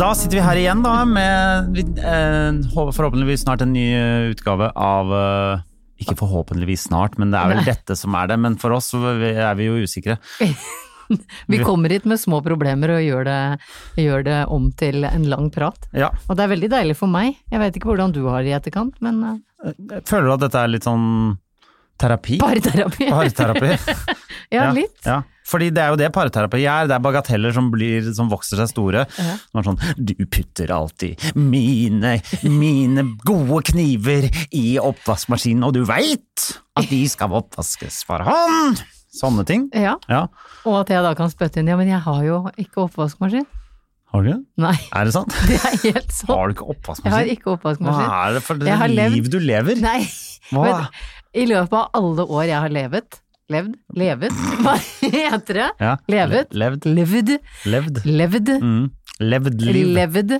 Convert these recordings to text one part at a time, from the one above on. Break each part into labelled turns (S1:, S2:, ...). S1: Da sitter vi her igjen da, med eh, hå- forhåpentligvis snart en ny eh, utgave av eh, Ikke forhåpentligvis snart, men det er vel dette som er det. Men for oss så er vi jo usikre.
S2: Vi kommer hit med små problemer og gjør det, gjør det om til en lang prat.
S1: Ja.
S2: Og det er veldig deilig for meg. Jeg vet ikke hvordan du har det i etterkant, men eh,
S1: Jeg føler at dette er litt sånn terapi.
S2: parterapi.
S1: Parterapi.
S2: ja, litt.
S1: Ja. Fordi det er jo det parterapi er. Det er bagateller som, blir, som vokser seg store. Som er sånn Du putter alltid mine, mine gode kniver i oppvaskmaskinen, og du veit at de skal oppvaskes for hånd! Sånne ting.
S2: Ja,
S1: Ja.
S2: og at jeg da kan spytte inn ja, men jeg har jo ikke oppvaskmaskin.
S1: Har du det?
S2: Nei,
S1: Er det sant?
S2: det er helt sånn.
S1: Har du ikke
S2: Jeg har
S1: oppvaskmaskin?
S2: ikke
S1: Hva
S2: oppvaskmaskin.
S1: er det for
S2: Jeg har
S1: et liv
S2: levd-
S1: du lever?
S2: Nei,
S1: Hva?
S2: men i løpet av alle år jeg har levet, levd, levet, hva heter det?
S1: Ja.
S2: Levet,
S1: Le- Levd.
S2: levd,
S1: Levd.
S2: levd,
S1: Mm. Levd liv.
S2: levd,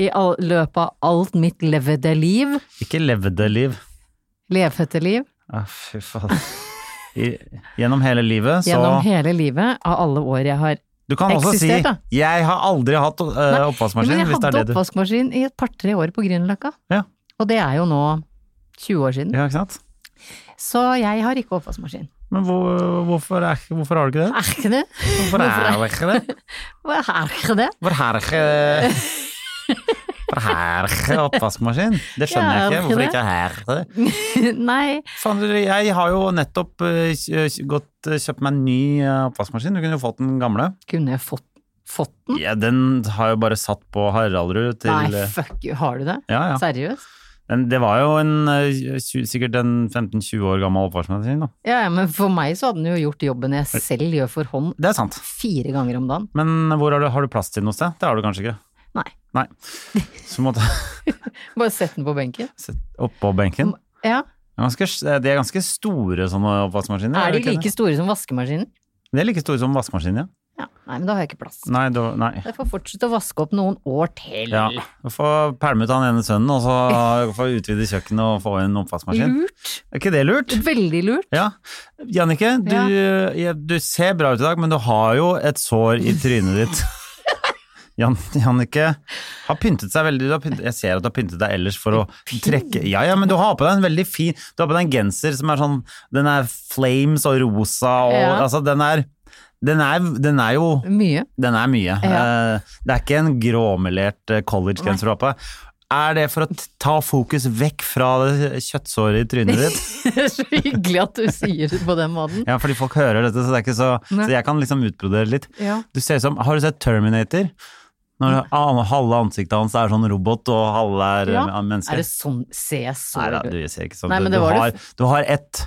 S2: i all, løpet av alt mitt levde liv,
S1: Ikke levde liv.
S2: levete liv,
S1: Ah, fy faen. I, gjennom hele livet, så
S2: gjennom hele livet, av alle år jeg har.
S1: Du kan også si
S2: Eksistert, da.
S1: 'jeg har aldri hatt øh,
S2: Nei,
S1: oppvaskmaskin',
S2: Men jeg
S1: hvis det er
S2: hadde
S1: det du
S2: oppvaskmaskin i et par-tre år på Grünerløkka,
S1: Ja.
S2: og det er jo nå 20 år siden.
S1: Ja, ikke sant?
S2: Så jeg har ikke oppvaskmaskin.
S1: Men hvor, hvorfor, er, hvorfor har du ikke det?
S2: Er ikke det?
S1: Hvorfor er det ikke det?
S2: Hva Er ikke det?
S1: Hvorfor er det ikke Hvorfor er det ikke oppvaskmaskin? Det skjønner
S2: Ja,
S1: jeg ikke.
S2: er det
S1: Hvorfor
S2: ikke
S1: ikke er det?
S2: Nei,
S1: Faen, dere, jeg har jo nettopp øh, kj- gått øh, kjøpt meg en ny øh, oppvaskmaskin. Du kunne jo fått den gamle.
S2: kunne jeg fått, fått den?
S1: Ja, den har jo bare satt på Haraldrud til
S2: Mm. Nei,
S1: øh,
S2: fuck you, har du det?
S1: ja, ja.
S2: Seriøst?
S1: Men det var jo en, øh, tju- sikkert en 15-20 år gammel oppvaskmaskin. Da.
S2: Ja, ja, men for meg så hadde den jo gjort jobben jeg selv gjør for hånd
S1: Det er sant.
S2: fire ganger om dagen.
S1: Men hvor har, du, har du plass til den noe sted? Det har du kanskje ikke?
S2: Nei,
S1: Nei. Så måtte jeg
S2: bare sett den på benken.
S1: sette oppå benken.
S2: Ja,
S1: Det er Ganske, de er ganske store sånne oppvaskmaskiner.
S2: Er de
S1: det ikke
S2: like
S1: det?
S2: store som vaskemaskinen?
S1: De er like store som vaskemaskinen, ja.
S2: Ja, nei, men da har jeg ikke plass.
S1: Nei, da, nei.
S2: Jeg får fortsette å vaske opp noen år til.
S1: Mm. Ja. Du får pælme ut han ene sønnen, og så få utvide kjøkkenet og få inn oppvaskmaskin.
S2: Lurt.
S1: Er ikke det lurt?
S2: Veldig lurt.
S1: Ja. Jannicke, du, ja, du ser bra ut i dag, men du har jo et sår i trynet ditt. Jan, Jannicke har pyntet seg veldig. Du har pyntet, jeg ser at du har pyntet deg ellers for å trekke Ja, ja, men du har på deg en veldig fin Du har på deg en genser som er sånn Den er flames og rosa og
S2: Ja.
S1: Altså, den er den er, den er jo
S2: Mye.
S1: Den er mye.
S2: Ja.
S1: Eh, Det er ikke en gråmelert eh, collegegenser du har på deg. Er det for å t- ta fokus vekk fra det kjøttsåret i trynet ditt?
S2: Det er så hyggelig at du sier det på den måten.
S1: Ja, fordi folk hører dette, så, det er ikke så,
S2: Nei.
S1: så jeg kan liksom utbrodere litt.
S2: Ja.
S1: Du ser ut som, har du sett Terminator? Når an- halve ansiktet hans er sånn robot, og halve er
S2: Ja.
S1: eh, menneske.
S2: Er det sånn Ser jeg så
S1: Nei da,
S2: ut?
S1: du ser ikke sånn
S2: Nei,
S1: ut.
S2: men
S1: Du,
S2: det var det
S1: har, du har et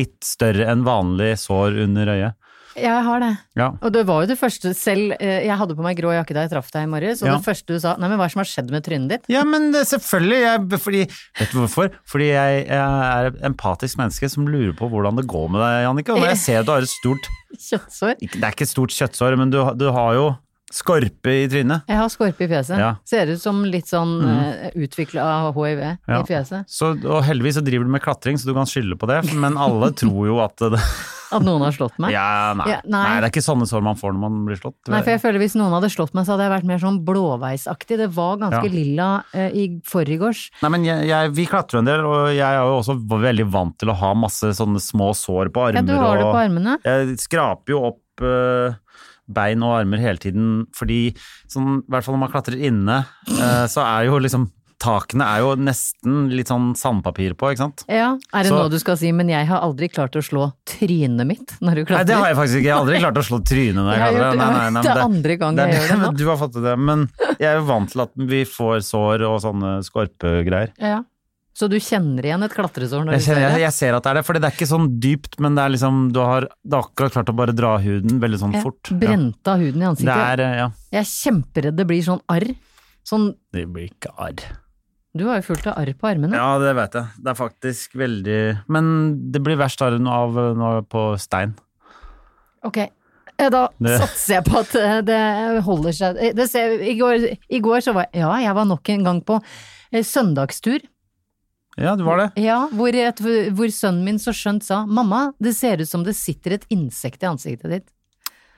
S1: litt større enn vanlig sår under øyet.
S2: Jeg har det.
S1: Ja.
S2: Og det var jo det første selv eh, Jeg hadde på meg grå jakke da jeg traff deg i morges, og
S1: Ja.
S2: det første du sa Nei, men hva er det som har skjedd med trynet ditt?
S1: Ja, men det- selvfølgelig. Jeg, fordi, vet du hvorfor? Fordi jeg, jeg er et empatisk menneske som lurer på hvordan det går med deg, Jannicke. Og
S2: Eh.
S1: når jeg ser at du har et stort
S2: Kjøttsår.
S1: ikke- Det er ikke et stort kjøttsår, men du, har- du har jo skorpe i trynet.
S2: Jeg har skorpe i fjeset.
S1: Ja. Mhm.
S2: Ser ut som litt sånn mm. utvikla hiv
S1: Ja.
S2: i fjeset.
S1: Så, og heldigvis så driver du med klatring, så du kan skylde på det, men alle tror jo at det
S2: At noen har slått meg.
S1: ja, nei.
S2: Ja,
S1: nei.
S2: nei.
S1: det er ikke sånne sår man får når man blir slått.
S2: Nei, for jeg føler Hvis noen hadde slått meg, så hadde jeg vært mer sånn blåveisaktig. Det var ganske
S1: Ja.
S2: lilla eh, i forgårs.
S1: Nei, men jeg, jeg, vi klatrer en del, og jeg er jo også veldig vant til å ha masse sånne små sår på
S2: Ja,
S1: armer.
S2: du har det på
S1: og,
S2: armene.
S1: Jeg skraper jo opp eh, bein og armer hele tiden, fordi sånn, i hvert fall når man klatrer inne, eh, så er jo liksom Takene er jo nesten litt sånn sandpapir på, ikke sant?
S2: Ja, Er det
S1: Så-
S2: noe du skal si, men jeg har aldri klart å slå trynet mitt når du
S1: Nei,
S2: klatrer.
S1: det har jeg faktisk ikke. Jeg har aldri klart å slå trynet når jeg
S2: Jeg har
S1: klatrer.
S2: gjort det.
S1: Nei, nei, nei, men
S2: Det er andre gang jeg
S1: det-
S2: gjør det nå.
S1: Du har fått til det, men jeg er jo vant til at vi får sår og sånne skorpegreier.
S2: Ja. Så du kjenner igjen et klatresår når
S1: Jeg,
S2: du ser
S1: kjenner, jeg,
S2: det?
S1: jeg ser at det er det, for det er ikke sånn dypt, men det er liksom, du har, du har akkurat klart å bare dra huden veldig sånn fort. Ja.
S2: Brente av huden i
S1: Det
S2: ansiktet.
S1: er, eh, ja.
S2: Jeg er kjemperedd det blir sånn arr. Sånn,
S1: Det blir ikke arr.
S2: du har jo fullt av arr på armene.
S1: Ja, det vet jeg. Det er faktisk veldig Men det blir verst arren av eh, nå på stein.
S2: Ok, eh, da
S1: Det-
S2: satser jeg på at eh, det holder seg. Eh, Det ser, i, går, I går så var jeg Ja, jeg var nok en gang på eh, søndagstur.
S1: Ja, det var det.
S2: Ja, hvor, et, hvor sønnen min så skjønt sa 'mamma, det ser ut som det sitter et insekt i ansiktet ditt'.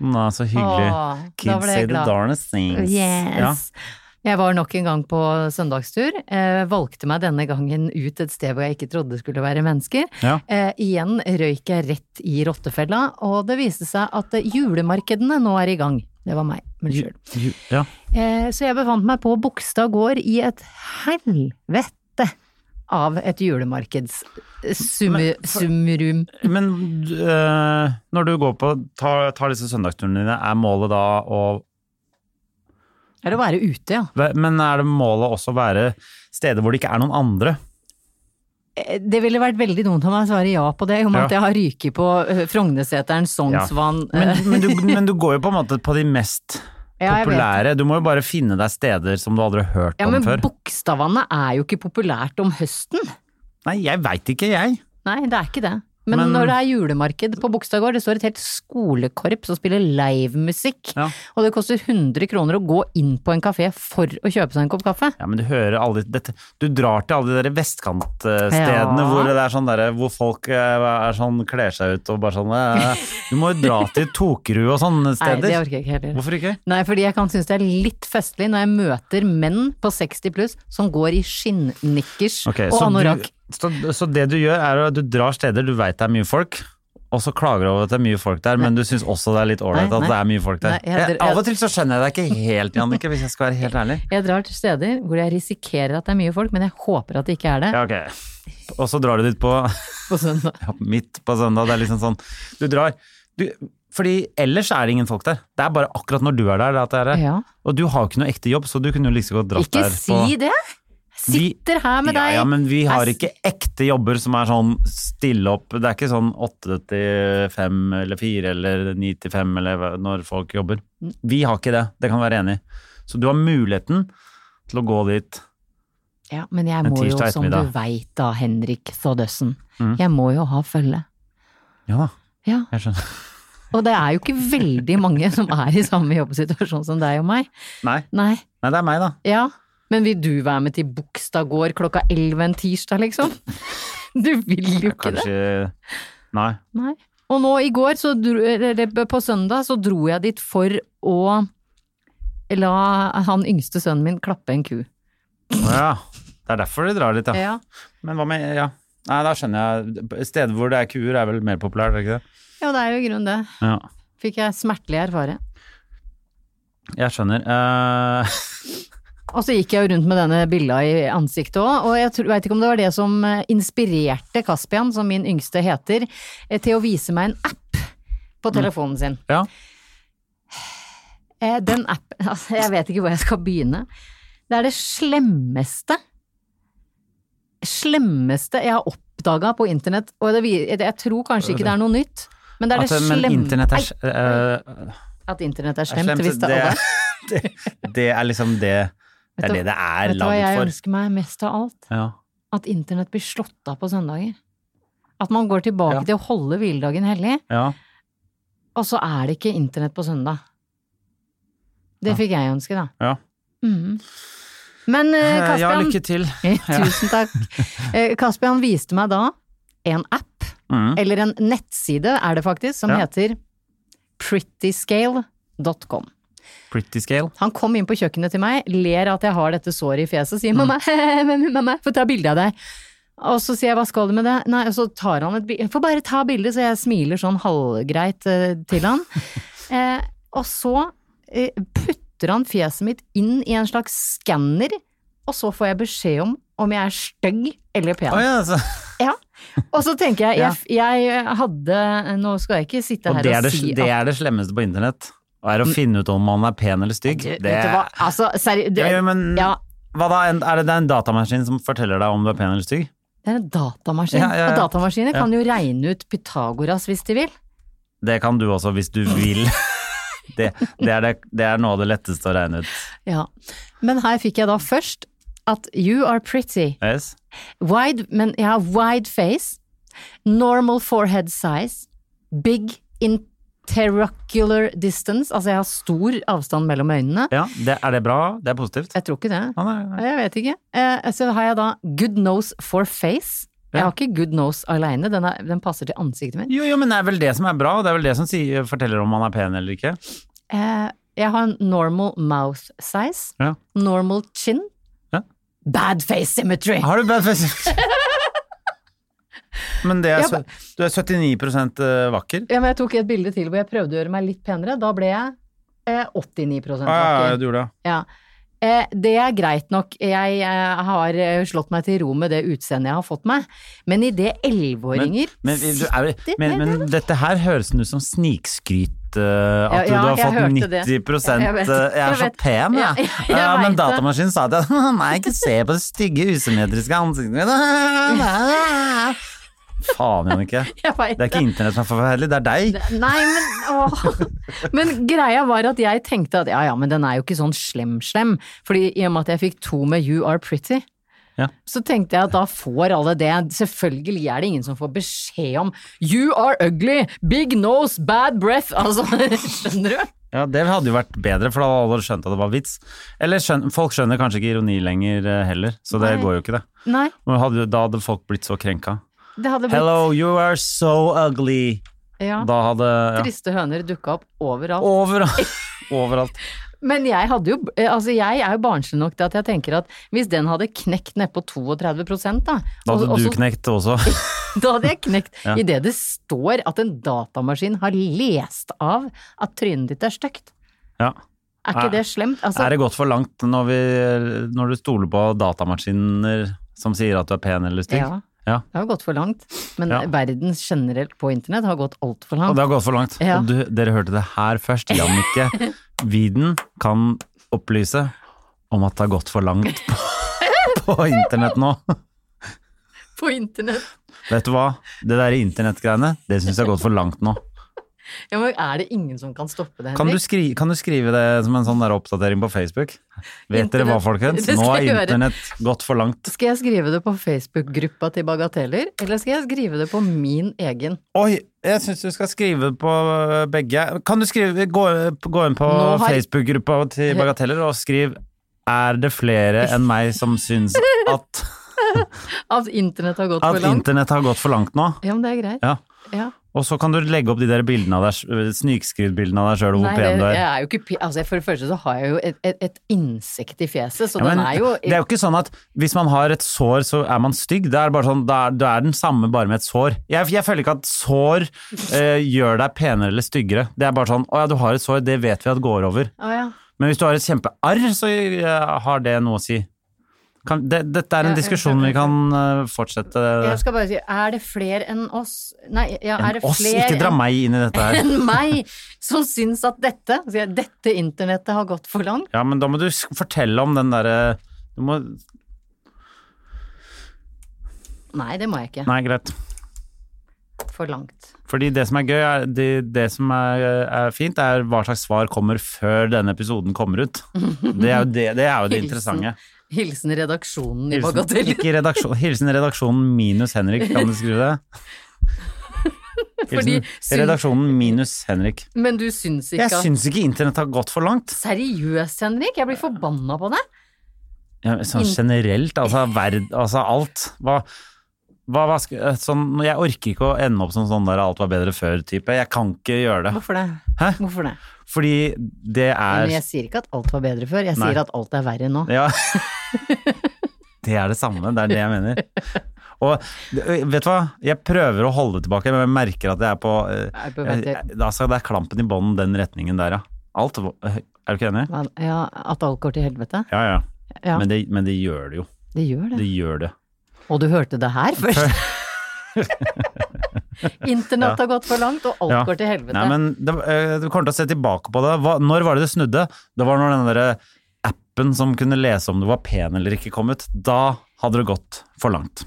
S1: Nei, så hyggelig.
S2: Åh, da
S1: Kids
S2: ble jeg
S1: say the
S2: glad.
S1: darnest things. Ja.
S2: Yes. Jeg var nok en gang på søndagstur. Eh, valgte meg denne gangen ut et sted hvor jeg ikke trodde det skulle være mennesker.
S1: Ja.
S2: Eh, igjen røyk jeg rett i rottefella, og det viste seg at eh, julemarkedene nå er i gang. Det var meg, men sjøl.
S1: Ju- Ja.
S2: Eh, så jeg befant meg på Bogstad gård i et helvete av et
S1: Men for-
S2: julemarkedssumrum.
S1: Men eh, når du går på tar, tar disse søndagsturene dine, er målet da å
S2: Er det å være ute, ja.
S1: Men er det målet også å være steder hvor det ikke er noen andre?
S2: Eh, Det ville vært veldig dumt av meg å svare ja på det, i og med
S1: Ja.
S2: at jeg har ryket på eh, Frogneseteren, Sognsvann
S1: Men,
S2: eh,
S1: men, du, men du går jo på en måte på de mest
S2: Ja, jeg vet
S1: populære. Du må jo bare finne deg steder som du aldri har hørt
S2: Ja,
S1: om
S2: men
S1: før.
S2: Bogstadvannet er jo ikke populært om høsten.
S1: Nei, jeg veit ikke, jeg.
S2: Nei, det er ikke det. Men,
S1: Men-
S2: når det er julemarked på Bogstadgård, det står et helt skolekorps og spiller livemusikk,
S1: Ja.
S2: og det koster 100 kroner å gå inn på en kafé for å kjøpe seg en kopp kaffe.
S1: Ja, men Du hører alle dette Du drar til alle de der vestkantstedene
S2: Ja.
S1: hvor det er sånn derre Hvor folk eh, er sånn, kler seg ut og bare sånn eh, Du må jo dra til Tokerud og sånne
S2: Nei, det
S1: steder.
S2: orker jeg ikke heller.
S1: Hvorfor ikke?
S2: Nei, fordi jeg kan synes det er litt festlig når jeg møter menn på 60 pluss som går i skinnnikkers
S1: Ok,
S2: og
S1: så
S2: anorakk.
S1: Du, så, så det du gjør, er at du drar steder du veit det er mye folk, og så klager du over at det er mye folk der, men du syns også det er litt ålreit
S2: Nei,
S1: at
S2: nei.
S1: det er mye folk der.
S2: Nei, jeg-
S1: jeg, av og til så skjønner jeg deg ikke helt, Jannicke, hvis jeg skal være helt ærlig.
S2: Jeg drar til steder hvor jeg risikerer at det er mye folk, men jeg håper at det ikke er det.
S1: Ja, ok. Og så drar du dit på
S2: På søndag.
S1: ja, midt på søndag, det er liksom sånn Du drar. Du, fordi ellers er det ingen folk der. Det er bare akkurat når du er der at det er det.
S2: Ja.
S1: Og du har jo ikke noe ekte jobb, så du kunne jo like så godt dratt
S2: Ikke
S1: der
S2: si det! Sitter her med
S1: ja,
S2: deg.
S1: Ja, men vi har
S2: Jeg-
S1: ikke ekte jobber som er sånn stille opp. Det er ikke sånn åtte til fem eller fire eller ni til fem eller hva- når folk jobber. Vi har ikke det, det kan vi være enig i. Så du har muligheten til å gå dit.
S2: Ja, men jeg
S1: En
S2: må jo,
S1: tirsdag
S2: som du
S1: ettermiddag. Mm.
S2: veit da, Henrik Thodesen, jeg må jo ha følge.
S1: Ja da,
S2: Ja,
S1: jeg skjønner.
S2: og det er jo ikke veldig mange som er i samme jobbsituasjon som deg og meg.
S1: Nei,
S2: Nei,
S1: nei det er meg da.
S2: ja. Men vil du være med til Bogstad gård klokka elleve en tirsdag, liksom? Du vil jo ikke det.
S1: Kanskje Nei.
S2: Nei. Og nå i går, så dro, eller på søndag, så dro jeg dit for å la han yngste sønnen min klappe en ku.
S1: Å ja. Det er derfor de drar dit, ja.
S2: Ja.
S1: Men hva med Ja. Nei, da skjønner jeg. Steder hvor det er kuer, er vel mer populært, er det ikke det?
S2: ja, det er jo i grunnen det.
S1: Ja.
S2: Fikk jeg smertelig erfare.
S1: Jeg skjønner. Eh,
S2: Og så gikk jeg jo rundt med denne billa i ansiktet òg, og jeg tror- vet ikke om det var det som eh, inspirerte Kaspian, som min yngste heter, eh, til å vise meg en app på telefonen sin.
S1: Mm. ja.
S2: Eh, Den appen Altså, jeg vet ikke hvor jeg skal begynne. Det er det slemmeste Slemmeste jeg har oppdaga på internett, og det, vi- jeg tror kanskje ikke det er noe nytt, men det er
S1: At,
S2: det slemme...
S1: Altså, men internett er, eh,
S2: At internett er
S1: er
S2: slemt, hvis det, alle-
S1: det, det, det er liksom det Det
S2: Vet
S1: er
S2: du-
S1: det det er
S2: Vet du hva jeg
S1: lagd for.
S2: ønsker meg mest av alt?
S1: Ja.
S2: at internett blir slått av på søndager. At man går tilbake
S1: Ja.
S2: til å holde hviledagen hellig,
S1: ja.
S2: og så er det ikke internett på søndag. Det
S1: Ja.
S2: fikk jeg ønske, da.
S1: Ja.
S2: Mhm. Men eh,
S1: Eh, ja,
S2: Kaspian
S1: lykke til.
S2: Tusen takk. Eh, Kaspian viste meg da en app,
S1: Mm.
S2: eller en nettside er det faktisk, som
S1: Ja.
S2: heter prettyscale.com.
S1: Pretty scale.
S2: Han kom inn på kjøkkenet til meg, ler at jeg har dette såret i fjeset, sier mamma, mamma, få ta bilde av deg. Og så sier jeg hva skal du med det? Nei, og så tar han et bilde, få bare ta bilde, så jeg smiler sånn halvgreit eh, til han. Eh, og så eh, putter han fjeset mitt inn i en slags skanner, og så får jeg beskjed om om jeg er stygg eller pen.
S1: Å ja, altså. så.
S2: Ja. Og så tenker jeg, jeg, jeg eh, hadde Nå skal jeg ikke sitte
S1: Og
S2: her
S1: det er
S2: og
S1: det,
S2: si Mm.
S1: det er det slemmeste på internett. Og er å finne ut om man er pen eller stygg.
S2: at
S1: Det
S2: Vet du hva, altså, seri... det-
S1: Ja, men
S2: ja,
S1: Hva da, en- er det, det er en datamaskin som forteller deg om du er pen eller stygg?
S2: Det er en datamaskin.
S1: Ja, ja, ja.
S2: Og datamaskiner
S1: Ja.
S2: kan jo regne ut Pythagoras hvis de vil.
S1: Det kan du også, hvis du vil. Det, det, er det, det er noe av det letteste å regne ut.
S2: Ja. Men her fikk jeg da først at you are pretty.
S1: Yes?
S2: Wide, men jeg har wide face. Normal forehead size. Big interrocular distance. Altså jeg har stor avstand mellom øynene.
S1: Ja, det, er det bra? Det er positivt?
S2: Jeg tror ikke det.
S1: Ja, nei, nei.
S2: Jeg vet ikke. Eh, så har jeg da good nose for face. Jeg
S1: Ja.
S2: har ikke good nose aleine, den, er- den passer til ansiktet mitt.
S1: Jo, jo, men det er vel det som er bra, det er vel det som sier, forteller om man er pen eller ikke.
S2: Eh, jeg har en normal mouth size.
S1: Ja.
S2: Normal chin.
S1: Ja. Ah.
S2: Bad face symmetry!
S1: Har du bad face? Men det er,
S2: Ja,
S1: sø- du er 79 vakker.
S2: Ja, men jeg tok et bilde til hvor jeg prøvde å gjøre meg litt penere. Da ble jeg eh,
S1: Ah,
S2: 89
S1: Ja, ja, ja,
S2: vakker.
S1: du gjorde det.
S2: Ja. Eh, det er greit nok. Jeg eh, har eh, slått meg til ro med det utseendet jeg har fått meg. Men idet elleveåringer
S1: Men, vi- du, er,
S2: sitter
S1: men,
S2: med det-
S1: men dette her høres ut som snikskryt. eh, at
S2: Ja, ja,
S1: du har
S2: jeg
S1: fått
S2: hørte
S1: 90
S2: det. Jeg
S1: jeg,
S2: vet,
S1: er
S2: jeg
S1: så
S2: vet.
S1: pen,
S2: Ja,
S1: jeg.
S2: jeg
S1: Ja, men
S2: vet det.
S1: datamaskinen sa at jeg Nei, ikke se på det stygge, usymmetriske ansiktet mitt. Faen, Jannicke.
S2: Jeg vet
S1: Det er ikke internett som er forferdelig, det er deg.
S2: Nei, men åh. Men greia var at jeg tenkte at ja ja, men den er jo ikke sånn slem-slem. Fordi i og med at jeg fikk to med You Are Pretty,
S1: Ja.
S2: så tenkte jeg at da får alle det. Selvfølgelig er det ingen som får beskjed om You are ugly, big nose, bad breath. Altså, skjønner du?
S1: Ja, Det hadde jo vært bedre, for da hadde alle skjønt at det var vits. Eller skjøn, folk skjønner kanskje ikke ironi lenger eh, heller, så det
S2: Nei.
S1: går jo ikke, det.
S2: Nei,
S1: Men hadde, da hadde folk blitt så krenka.
S2: det hadde blitt
S1: Hello, you are so ugly.
S2: Ja,
S1: Da hadde ja.
S2: Triste høner dukka opp overalt.
S1: Overalt. Overalt.
S2: Men jeg, hadde jo, eh, altså jeg er jo barnslig nok til at jeg tenker at hvis den hadde knekt nedpå 32 da
S1: Da hadde
S2: og- og
S1: du
S2: så-
S1: knekt også.
S2: Da hadde jeg knekt.
S1: Ja.
S2: I Idet det står at en datamaskin har lest av at trynet ditt er stygt.
S1: Ja.
S2: Er ikke
S1: Er-
S2: det slemt? Altså,
S1: Er det gått for langt når, vi, når du stoler på datamaskiner som sier at du er pen eller stygg?
S2: Ja.
S1: Ja.
S2: det har gått for langt. Men
S1: Ja.
S2: verden generelt på internett har gått altfor
S1: Og
S2: langt.
S1: det har gått for langt.
S2: Ja.
S1: Og du, dere hørte det her først. Jannicke Widen kan opplyse om at det har gått for langt på, på internett nå.
S2: På internett!
S1: Vet du hva? Det der internettgreiene, det syns jeg har gått for langt nå.
S2: Ja, men er det ingen som kan stoppe det,
S1: Kan du,
S2: Henrik?
S1: skri, kan du skrive det som en sånn der oppdatering på Facebook? Vet dere hva,
S2: Internett.
S1: folkens?
S2: Det skal
S1: Nå har
S2: jeg gjøre.
S1: internett gått for langt.
S2: Skal jeg skrive det på Facebook-gruppa til Bagateller, eller skal jeg skrive det på min egen?
S1: Oi, jeg syns du skal skrive på begge. Kan du skrive, gå, gå inn på
S2: Nå har-
S1: Facebook-gruppa til Bagateller og skriv 'Er det flere enn meg som syns at,
S2: At internett har gått
S1: at
S2: for langt?
S1: internett har gått for langt nå?'
S2: Ja, men det er greit.
S1: Ja.
S2: Ja.
S1: Og så kan du legge opp de der bildene av deg, snikskrytbildene av deg sjøl og hvor
S2: Nei,
S1: pen
S2: det,
S1: du
S2: jeg
S1: er.
S2: er jo ikke, pen- altså for det første så har jeg jo et, et, et insekt i fjeset, så
S1: Ja, men
S2: den er jo
S1: det er jo ikke sånn at hvis man har et sår, så er man stygg. Det er bare sånn, da er, du er den samme bare med et sår. Jeg, jeg føler ikke at sår eh, gjør deg penere eller styggere. Det er bare sånn 'Å ja, du har et sår, det vet vi at går over'.
S2: Å Ah, ja.
S1: Men hvis du har et kjempearr, så eh, har det noe å si. Kan, det, dette er en
S2: Ja, jeg
S1: diskusjon
S2: skjønner.
S1: vi kan eh, fortsette.
S2: Jeg skal bare si, er det flere enn oss Nei, ja, er det
S1: Oss,
S2: flere
S1: ikke dra
S2: enn-
S1: meg inn i dette her.
S2: enn meg som syns at dette, sier jeg, dette internettet har gått for langt?
S1: Ja, men da må du s- fortelle om den derre Du må
S2: Nei, det må jeg ikke.
S1: Nei, greit.
S2: For langt.
S1: Fordi det som er gøy, er, det, det som er, er fint, er hva slags svar kommer før denne episoden kommer ut. Det er jo det, det, er jo det
S2: Hilsen
S1: interessante.
S2: Hilsen redaksjonen i
S1: Hilsen,
S2: Bagateller.
S1: ikke redaksjon, hilsen redaksjonen minus Henrik, kan du skrive det?
S2: Fordi
S1: Hilsen redaksjonen minus Henrik.
S2: Men du syns ikke
S1: Jeg
S2: at
S1: syns ikke internett har gått for langt.
S2: Seriøst, Henrik? Jeg blir forbanna på deg.
S1: Ja, Sånn generelt, altså, verd, altså alt. Hva, hva, hva sk- sånn, jeg orker ikke å ende opp som sånn der alt var bedre før-type. Jeg kan ikke gjøre det.
S2: Hvorfor det?
S1: Hæ?
S2: Hvorfor det?
S1: Fordi det er
S2: Men jeg sier ikke at alt var bedre før, jeg
S1: Nei.
S2: sier at alt er verre nå.
S1: Ja. Det er det samme, det er det jeg mener. Og vet du hva, jeg prøver å holde det tilbake, men jeg merker at jeg er på eh,
S2: Jeg er på vei til-
S1: Da skal det er klampen i bånden den retningen der, ja. Alt, er du ikke enig?
S2: Men, ja, at alt går til helvete?
S1: Ja, ja.
S2: Ja,
S1: Men, det, men det gjør det jo.
S2: det gjør det.
S1: Det gjør det.
S2: Og du hørte det her først. Internett har gått for langt, og alt
S1: Ja.
S2: går til helvete.
S1: Nei, men det, eh, du kommer til å se tilbake på det. Hva, når var det det snudde? Det var når den derre app appen som kunne lese om du var pen eller ikke, kom ut, da hadde det gått for langt.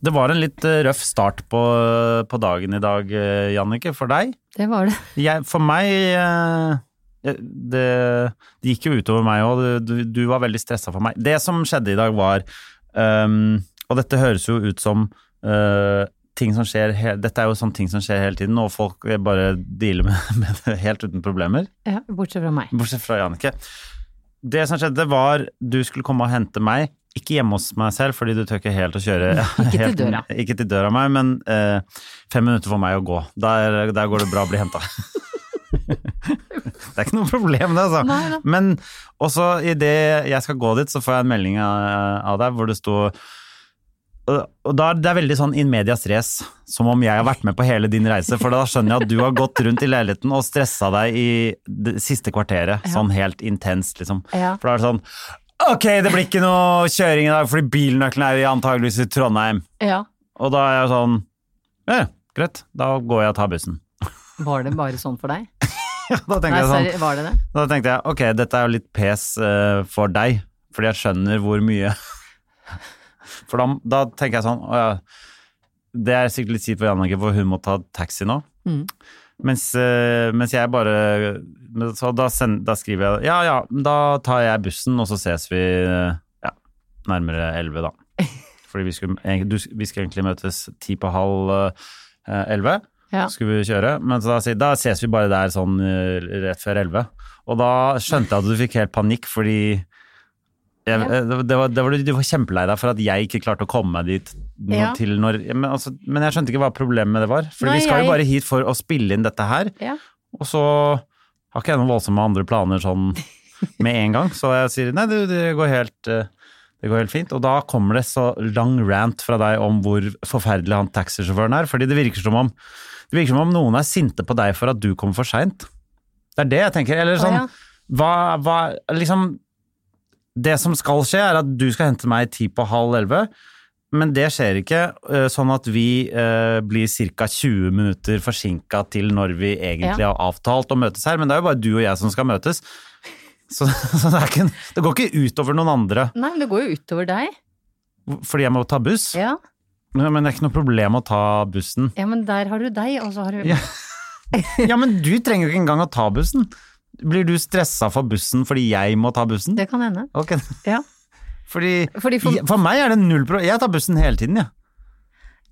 S1: Det var en litt eh, røff start på, på dagen i dag, eh, Jannicke, for deg.
S2: Det var det.
S1: Jeg, for meg eh, det, det gikk jo utover meg òg. Du, du var veldig stressa for meg. Det som skjedde i dag, var ehm, Og dette høres jo ut som eh, ting som skjer he Dette er jo sånn ting som skjer hele tiden, og folk bare dealer med, med det helt uten problemer.
S2: Ja, bortsett fra meg.
S1: Bortsett fra Jannicke. Det som skjedde, var du skulle komme og hente meg. Ikke hjemme hos meg selv, fordi du tør ikke helt å kjøre
S2: Ikke til
S1: helt-
S2: døra.
S1: Ikke til døra meg, men eh, fem minutter for meg å gå. Der, der går det bra å bli henta. det er ikke noe problem, det, altså.
S2: Nei, nei.
S1: Men også idet jeg skal gå dit, så får jeg en melding av, av deg hvor det sto og og da, Det er veldig sånn in medias race, som om jeg har vært med på hele din reise. For da skjønner jeg at du har gått rundt i leiligheten og stressa deg i det siste kvarteret. Sånn helt intenst, liksom.
S2: Ja.
S1: For da er det sånn Ok, det blir ikke noe kjøring i dag fordi bilnøkkelen er antageligvis i Trondheim.
S2: Ja.
S1: Og da er jeg sånn Ja, greit. Da går jeg og tar bussen.
S2: Var det bare sånn for deg?
S1: Da tenker
S2: Nei,
S1: jeg sånn
S2: sorry, var det det?
S1: Da tenkte jeg, ok, dette er jo litt pes eh, for deg, fordi jeg skjønner hvor mye. For da, da tenker jeg sånn, å ja, det er sikkert litt kjipt for Jannicke, for hun må ta taxi nå.
S2: Mm.
S1: Mens, eh, mens jeg bare, men så da, send, da skriver jeg, ja, ja, da tar jeg bussen, og så ses vi eh, ja, nærmere 11 da. Fordi vi skulle, egentlig- du, vi skulle egentlig møtes ti på halv eh, 11
S2: Ja.
S1: skulle vi kjøre. Men så da, sier- da ses vi bare der sånn eh, rett før 11. Og da skjønte jeg at du fikk helt panikk, fordi jeg, eh, det, det var, det var, du var kjempelei deg for at jeg ikke klarte å komme meg dit nå,
S2: Ja.
S1: til når men, altså, men jeg skjønte ikke hva problemet med det var. For
S2: Nei,
S1: vi skal
S2: jeg-
S1: jo bare hit for å spille inn dette her,
S2: Ja.
S1: og så har ikke jeg noen voldsomme andre planer sånn med en gang. Så jeg sier nei, det, det går helt eh, det går helt fint, og da kommer det så lang rant fra deg om hvor forferdelig han taxisjåføren er, fordi det virker som om det virker som om noen er sinte på deg for at du kom for seint. Det er det jeg tenker. Eller
S2: Å,
S1: sånn
S2: ja.
S1: hva, hva Liksom Det som skal skje, er at du skal hente meg ti på halv elleve, men det skjer ikke. øh, Sånn at vi øh, blir ca. 20 minutter forsinka til når vi egentlig har avtalt å møtes her, men det er jo bare du og jeg som skal møtes. Så, så det, er ikke, det går ikke utover noen andre
S2: Nei, men det går jo utover deg.
S1: fordi jeg må ta buss.
S2: Ja.
S1: Men det er ikke noe problem å ta bussen.
S2: ja, men der har du deg, og så har du
S1: Ja. Ja, men du trenger jo ikke engang å ta bussen. Blir du stressa for bussen fordi jeg må ta bussen?
S2: Det kan hende.
S1: Ok.
S2: Ja.
S1: Fordi,
S2: Fordi for-
S1: for... meg er det null pro... Jeg tar bussen hele tiden, jeg.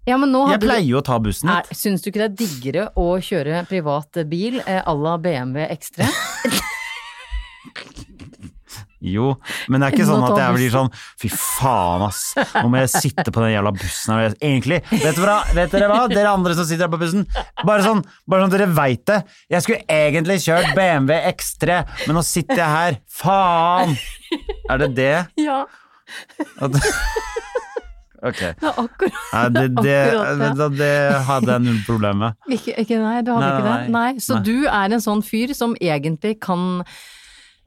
S2: Ja, men nå
S1: Jeg
S2: hadde du-
S1: pleier jo å ta bussen.
S2: Er, syns du ikke det er diggere å kjøre privat bil eh, à la BMW X3?
S1: Jo, men det er ikke
S2: Enn å
S1: sånn at
S2: ta
S1: jeg blir
S2: bussen.
S1: sånn Fy faen, ass. Nå må jeg sitte på den jævla bussen her. Egentlig, vet dere, hva, vet dere hva? Dere andre som sitter her på bussen. Bare sånn, bare sånn at dere veit det. Jeg skulle egentlig kjørt BMW X3, men nå sitter jeg her. Faen! Er det det?
S2: Ja,
S1: At... Ok.
S2: det er akkurat
S1: Nei, det, det,
S2: Akkurat, ja.
S1: det, det hadde jeg null problem med.
S2: ikke, ikke, Nei, du hadde
S1: Nei,
S2: ikke det?
S1: nei,
S2: Nei, så
S1: nei.
S2: du er en sånn fyr som egentlig kan,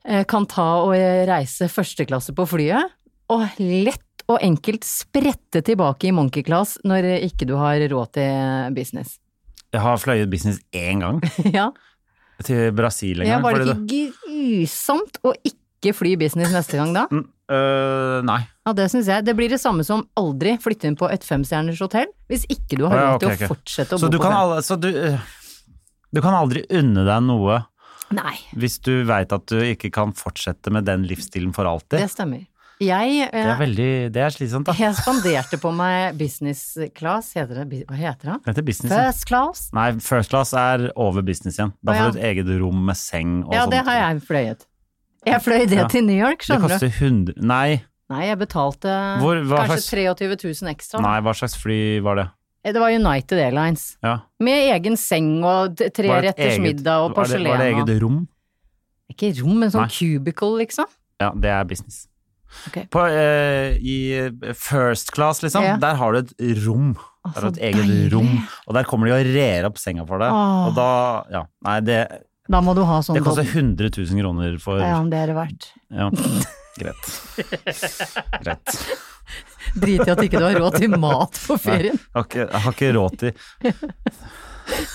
S2: eh, kan ta og eh, reise førsteklasse på flyet, og lett og enkelt sprette tilbake i monkey class når eh, ikke du har råd til business.
S1: Jeg har fløyet business én gang,
S2: Ja,
S1: til Brasil en
S2: ja
S1: gang.
S2: Var
S1: fordi
S2: det ikke grusomt å ikke fly business neste gang da?
S1: Mm, Øh, nei.
S2: Ja, det synes jeg. Det blir det samme som aldri flytte inn på et femstjerners hotell hvis ikke du har
S1: Ja,
S2: råd til
S1: ok, ok.
S2: å fortsette å
S1: Så
S2: bo
S1: du
S2: på
S1: kan,
S2: fem.
S1: al- så du, øh, du kan aldri unne deg noe
S2: Nei,
S1: hvis du veit at du ikke kan fortsette med den livsstilen for
S2: det
S1: alltid.
S2: stemmer. Jeg,
S1: Det er
S2: eh,
S1: veldig Det er slitsomt, da.
S2: jeg spanderte på meg business class, heter det, bi- hva heter det?
S1: Det heter business. ja.
S2: First class?
S1: Nei, first class er over business igjen. Da
S2: Å,
S1: får du
S2: ja.
S1: et eget rom med seng og sånn.
S2: Ja,
S1: sånt.
S2: det har jeg fløyet. Jeg fløy det
S1: Ja.
S2: til New York,
S1: Det
S2: skjønner du.
S1: koster 100 Nei,
S2: Nei, jeg betalte
S1: Hvor- hva
S2: kanskje
S1: slags-
S2: 23 000 ekstra.
S1: nei, hva slags fly var det?
S2: Eh, Det var United Airlines.
S1: Ja.
S2: Med egen seng og t- tre
S1: Var det et
S2: retters
S1: eget-
S2: middag og
S1: var det-
S2: porselen.
S1: Var det
S2: og...
S1: eget rom?
S2: Ikke rom, men sånn
S1: Nei.
S2: cubicle, liksom.
S1: Ja, det er business.
S2: Ok.
S1: På, eh, I first class, liksom,
S2: Ja.
S1: der har du et rom.
S2: Å,
S1: Der
S2: så
S1: har du et eget
S2: deilig.
S1: rom, og der kommer de og rer opp senga for deg.
S2: Åh.
S1: Og da Ja, nei, det,
S2: Da må du ha sånn
S1: det koster
S2: dobbelt-
S1: 100 000 kroner for
S2: Ja,
S1: Ja,
S2: men det er det verdt.
S1: greit. Greit.
S2: Drit i at ikke du har råd til mat på ferien.
S1: Jeg har ikke, jeg har ikke råd til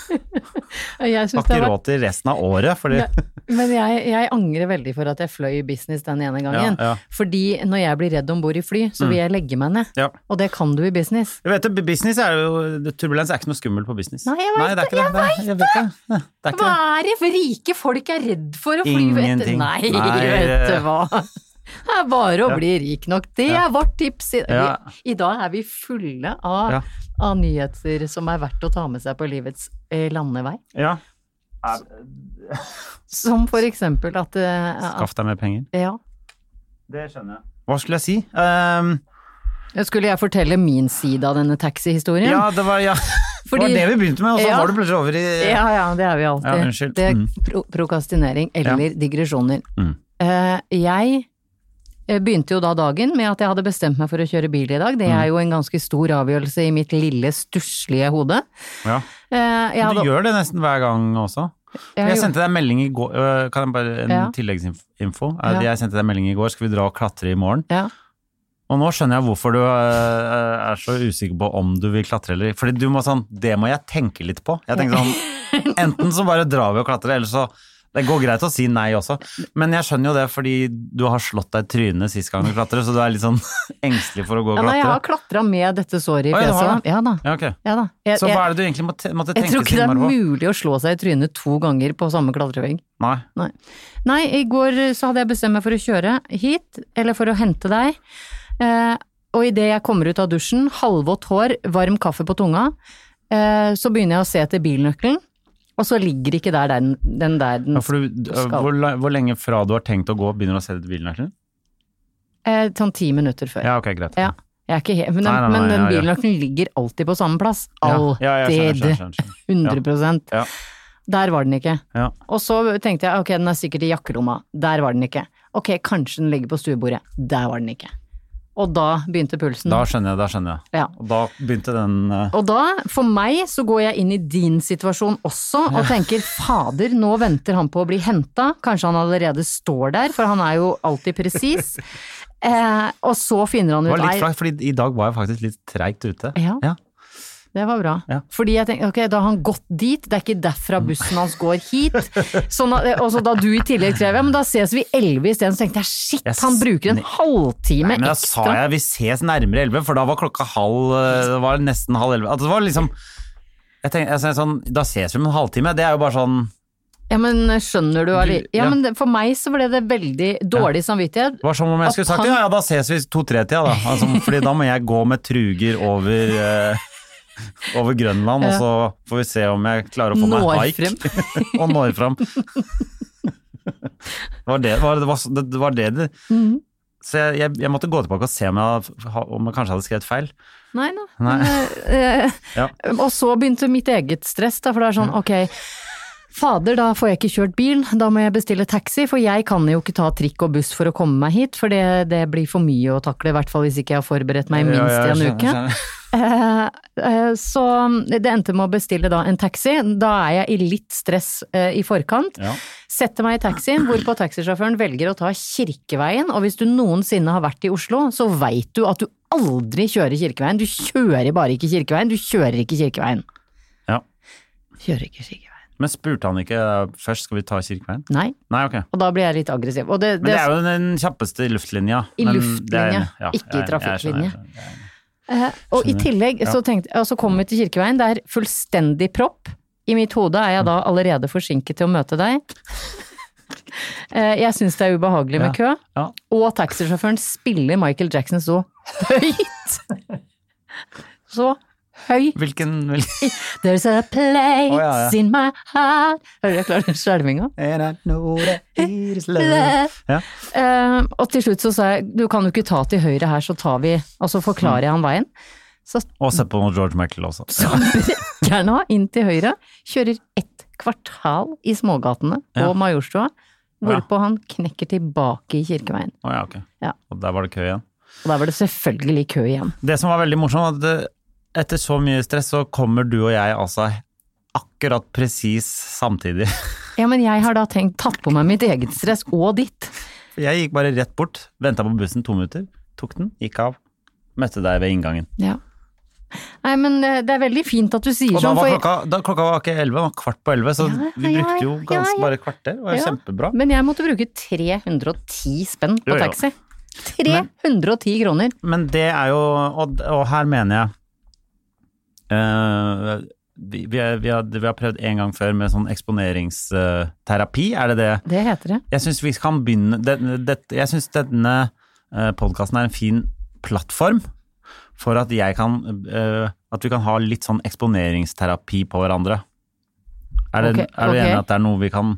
S2: Jeg
S1: Jeg
S2: synes
S1: har ikke
S2: det har vært...
S1: råd til resten av året, fordi
S2: Men jeg, jeg angrer veldig for at jeg fløy business den ene gangen.
S1: Ja, ja.
S2: Fordi når jeg blir redd om bord i fly, så vil jeg legge meg ned.
S1: Ja.
S2: Og det kan du i business.
S1: Jeg vet det, business er jo det- Turbulens er ikke noe skummelt på business.
S2: Nei, jeg vet
S1: det er
S2: det,
S1: ikke det.
S2: jeg
S1: det. Jeg vet det. Nei, det er ikke
S2: Hva
S1: det.
S2: er det rike folk er redd for å fly etter?
S1: Ingenting.
S2: Nei,
S1: Nei,
S2: vet du
S1: eh.
S2: hva. Det er bare å bli rik nok. Det er vårt tips. I,
S1: Ja.
S2: vi, I dag er vi fulle av,
S1: Ja.
S2: av nyheter som er verdt å ta med seg på livets eh, landevei.
S1: Ja.
S2: Som for eksempel at, eh, at
S1: Skaff deg mer penger.
S2: ja.
S1: Det skjønner jeg. Hva skulle jeg si? Ehm,
S2: Skulle jeg fortelle min side av denne taxihistorien?
S1: ja, det var, ja. det var
S2: Fordi-
S1: det vi begynte med, og så
S2: Ja.
S1: var det plutselig over i
S2: Ja, ja, det er vi alltid.
S1: Ja, unnskyld.
S2: Det er
S1: Mm.
S2: pro prokastinering eller digresjoner.
S1: Mm.
S2: Eh, jeg eh, begynte jo da dagen med at jeg hadde bestemt meg for å kjøre bil i dag. Det
S1: Mm.
S2: er jo en ganske stor avgjørelse i mitt lille, stusslige hode.
S1: Ja.
S2: Eh, jeg
S1: Du
S2: hadde,
S1: gjør det nesten hver gang også.
S2: jeg
S1: Jeg,
S2: gjorde-
S1: sendte deg en melding i går øh, Kan jeg bare en
S2: Ja.
S1: tilleggsinfo?
S2: Ja.
S1: Er- Jeg sendte deg en melding i går, skal vi dra og klatre i morgen?
S2: ja.
S1: Og nå skjønner jeg hvorfor du øh, er så usikker på om du vil klatre eller Fordi du må sånn Det må jeg tenke litt på. Jeg tenker sånn Enten så bare drar vi og klatrer, eller så det går greit å si nei også, men jeg skjønner jo det fordi du har slått deg i trynet sist gang du klatret, så du er litt sånn engstelig for å gå og
S2: ja, nei, jeg har
S1: klatre.
S2: klatra med dette såret i
S1: Oi, du
S2: fjeset.
S1: har
S2: da.
S1: det?
S2: Ja da.
S1: Ja, ok.
S2: Ja, da. Jeg,
S1: Så hva
S2: jeg,
S1: er det du egentlig måtte, måtte
S2: jeg
S1: tenke
S2: tror ikke det
S1: så
S2: er
S1: innmari på?
S2: mulig å slå seg i trynet to ganger på samme klatrevegg.
S1: Nei.
S2: Nei. Nei, i går eh, så hadde jeg bestemt meg for å kjøre hit, eller for å hente deg. Eh, og idet jeg kommer ut av dusjen, halvvått hår, varm kaffe på tunga, eh, så begynner jeg å se etter bilnøkkelen, og så ligger ikke der den, den der den
S1: Ja, for du, d-
S2: skal.
S1: hvor, la- hvor lenge fra du har tenkt å gå, begynner du å se etter bilnøkkelen?
S2: eh, Sånn ti minutter før.
S1: Ja, ok, greit.
S2: Ja. Jeg er ikke he- men den,
S1: Nei, nei, nei,
S2: men den
S1: ja, ja.
S2: bilnøkkelen ligger alltid på samme plass.
S1: Ja,
S2: Alltid.
S1: ja, jeg skjønner, skjønner, skjønner, skjønner.
S2: 100
S1: Ja.
S2: Der var den ikke.
S1: Ja.
S2: Og så tenkte jeg ok, den er sikkert i jakkeromma. Der var den ikke. Ok, kanskje den ligger på stuebordet. Der var den ikke. Og da begynte pulsen.
S1: Da skjønner jeg, da skjønner jeg.
S2: Ja.
S1: Og da begynte den eh,
S2: Og da, for meg, så går jeg inn i din situasjon også og tenker fader, nå venter han på å bli henta, kanskje han allerede står der, for han er jo alltid presis. eh, og så finner han
S1: Det
S2: ut
S1: var
S2: «Nei,
S1: litt flaks, fordi i dag var jeg faktisk litt treigt ute.
S2: Ja.
S1: Ja.
S2: Det var bra.
S1: Ja. Mm.
S2: Fordi jeg tenkte, ok, da har han gått dit, det er ikke derfra bussen hans går hit. Sånn at, og så da du i tillegg skrev, ja, men da ses vi 11 isteden, så tenkte jeg shit,
S1: Jeg
S2: han bruker en
S1: sn-
S2: halvtime
S1: Nei, men da sa
S2: ekstra.
S1: jeg vi ses nærmere elleve, for da var klokka halv eh, Det var nesten halv elleve. Altså, det var liksom jeg tenker, jeg tenker sånn, Da ses vi om en halvtime. Det er jo bare sånn
S2: Ja, men eh, skjønner du, Ali?
S1: Du-
S2: Ja,
S1: ja.
S2: men det- for meg så ble det veldig dårlig samvittighet.
S1: Det var som om jeg
S2: At
S1: skulle sagt
S2: han-
S1: ja, ja, da ses vi to-tre-tida, da. Altså, fordi da må jeg gå med truger over, eh, over Grønland, og så får vi se om jeg klarer å få meg
S2: Når
S1: haik. og når fram. Det var det det var, det var, det, det var det det
S2: Mhm.
S1: Så jeg, jeg, jeg måtte gå tilbake og se om jeg, hadde- om jeg kanskje hadde skrevet feil.
S2: Nei da.
S1: Nei.
S2: Eh,
S1: Ja.
S2: Og så begynte mitt eget stress, da, for det er sånn, ok. Fader, da får jeg ikke kjørt bil, da må jeg bestille taxi, for jeg kan jo ikke ta trikk og buss for å komme meg hit, for det, det blir for mye å takle, i hvert fall hvis ikke jeg har forberedt meg
S1: Ja,
S2: minst
S1: ja,
S2: i en
S1: skjønner,
S2: uke.
S1: skjønner.
S2: Eh, eh, Så det endte med å bestille da en taxi. Da er jeg i litt stress eh, i forkant.
S1: Ja.
S2: Setter meg i taxien, hvorpå taxisjåføren velger å ta Kirkeveien. Og hvis du noensinne har vært i Oslo, så veit du at du aldri kjører Kirkeveien. Du kjører bare ikke Kirkeveien, du kjører ikke Kirkeveien.
S1: Ja.
S2: Kjører ikke Kirkeveien.
S1: Men spurte han ikke eh, først skal vi ta Kirkeveien?
S2: Nei.
S1: Nei, ok.
S2: Og da blir jeg litt aggressiv. Og det,
S1: Men det
S2: det,
S1: er jo den kjappeste luftlinja.
S2: I
S1: men det er-
S2: luftlinja,
S1: ja, jeg-
S2: ikke i
S1: jeg skjønner, jeg
S2: trafikklinje.
S1: skjønner, jeg skjønner.
S2: Eh, og i
S1: Skjønner.
S2: tillegg så
S1: Ja.
S2: tenkte jeg, og så kom vi til Kirkeveien, det er fullstendig propp. I mitt hode er jeg da allerede forsinket til å møte deg. Eh, jeg syns det er ubehagelig med kø.
S1: Ja.
S2: Og taxisjåføren spiller Michael Jackson så høyt! Så høy.
S1: Hvilken, hvilken
S2: There's a place
S1: Å, ja, ja.
S2: in my heart Hører du jeg klarer den skjelvinga?
S1: And I know that it is love. Ja.
S2: Eh, og til slutt så sa jeg du kan jo ikke ta til høyre her, så tar vi Og så forklarer jeg han veien. Så
S1: Og se på noe George Michael også.
S2: som brekkeren av inn til høyre, kjører ett kvartal i smågatene på
S1: Ja.
S2: Majorstua, hvorpå
S1: Ja.
S2: han knekker tilbake i Kirkeveien.
S1: Å ja, ok.
S2: Ja.
S1: Og der var det kø igjen.
S2: Og der var det selvfølgelig kø igjen.
S1: Det som var veldig morsomt, var at eh, etter så mye stress, så kommer du og jeg altså akkurat presis samtidig.
S2: Ja, men jeg har da tenkt, tatt på meg mitt eget stress og ditt.
S1: Jeg gikk bare rett bort, venta på bussen to minutter, tok den, gikk av. Møtte deg ved inngangen.
S2: Ja. Nei, men eh, det er veldig fint at du sier
S1: Og da
S2: sånn.
S1: var
S2: for-
S1: klokka, da klokka var ikke elleve, den var kvart på elleve, så
S2: Ja,
S1: vi
S2: ja,
S1: brukte jo
S2: ja,
S1: ganske
S2: ja.
S1: bare et kvarter. Det var jo
S2: Ja.
S1: kjempebra.
S2: Men jeg måtte bruke 310 spenn
S1: Jo,
S2: på
S1: jo.
S2: taxi. 310 kroner.
S1: Men det er jo Og, og her mener jeg eh, vi, vi, er- vi, har, vi har prøvd en gang før med sånn eksponeringsterapi, er det det?
S2: Det heter det.
S1: Jeg syns vi kan begynne det, det, Jeg syns denne eh, podkasten er en fin plattform for at jeg kan eh, At vi kan ha litt sånn eksponeringsterapi på hverandre. Er, det, er
S2: Ok,
S1: du
S2: ok.
S1: enig i at det er noe vi kan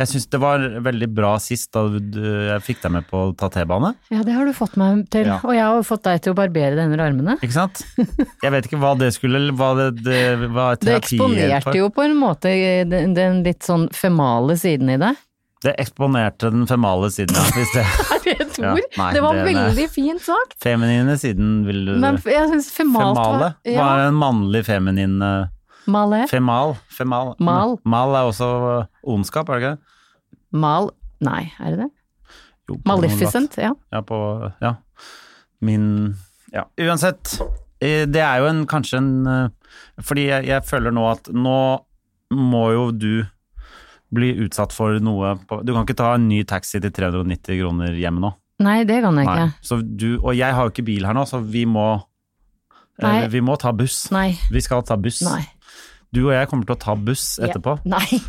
S1: Jeg syns det var veldig bra sist da du, jeg fikk deg med på å ta T-bane.
S2: Ja, det har du fått meg til.
S1: Ja.
S2: Og jeg har jo fått deg til å barbere deg under armene.
S1: Ikke sant? Jeg vet ikke hva det skulle eller hva det, det hva
S2: Det
S1: terapi er
S2: eksponerte
S1: for.
S2: jo på en måte eh, den, den litt sånn female siden i deg.
S1: Det eksponerte den female siden, ja. Hvis det,
S2: Er det et
S1: Ja,
S2: ord?
S1: nei,
S2: det var
S1: det- eh, nei.
S2: veldig fint sagt.
S1: feminine siden vil du
S2: Men jeg syns femalt
S1: Female?
S2: var ja,
S1: Hva er en mannlig feminin eh,
S2: Male.
S1: Femal. Femal.
S2: Mal.
S1: Mal er også eh, ondskap, er det ikke? det?
S2: Mal. Nei, er det det?
S1: Jo, på noe
S2: Maleficent, ja.
S1: lat. Ja, på Ja. Min Ja. Uansett, eh, det er jo en kanskje en eh, Fordi jeg, jeg føler nå at nå må jo du bli utsatt for noe på, Du kan ikke ta en ny taxi til 390 kroner hjem nå.
S2: Nei, det kan jeg
S1: Nei.
S2: ikke.
S1: Så du, og jeg har jo ikke bil her nå, så vi må
S2: Nei.
S1: eh, Vi må ta buss.
S2: Nei.
S1: Vi skal ta buss.
S2: Nei.
S1: Du og jeg kommer til å ta buss etterpå.
S2: Nei.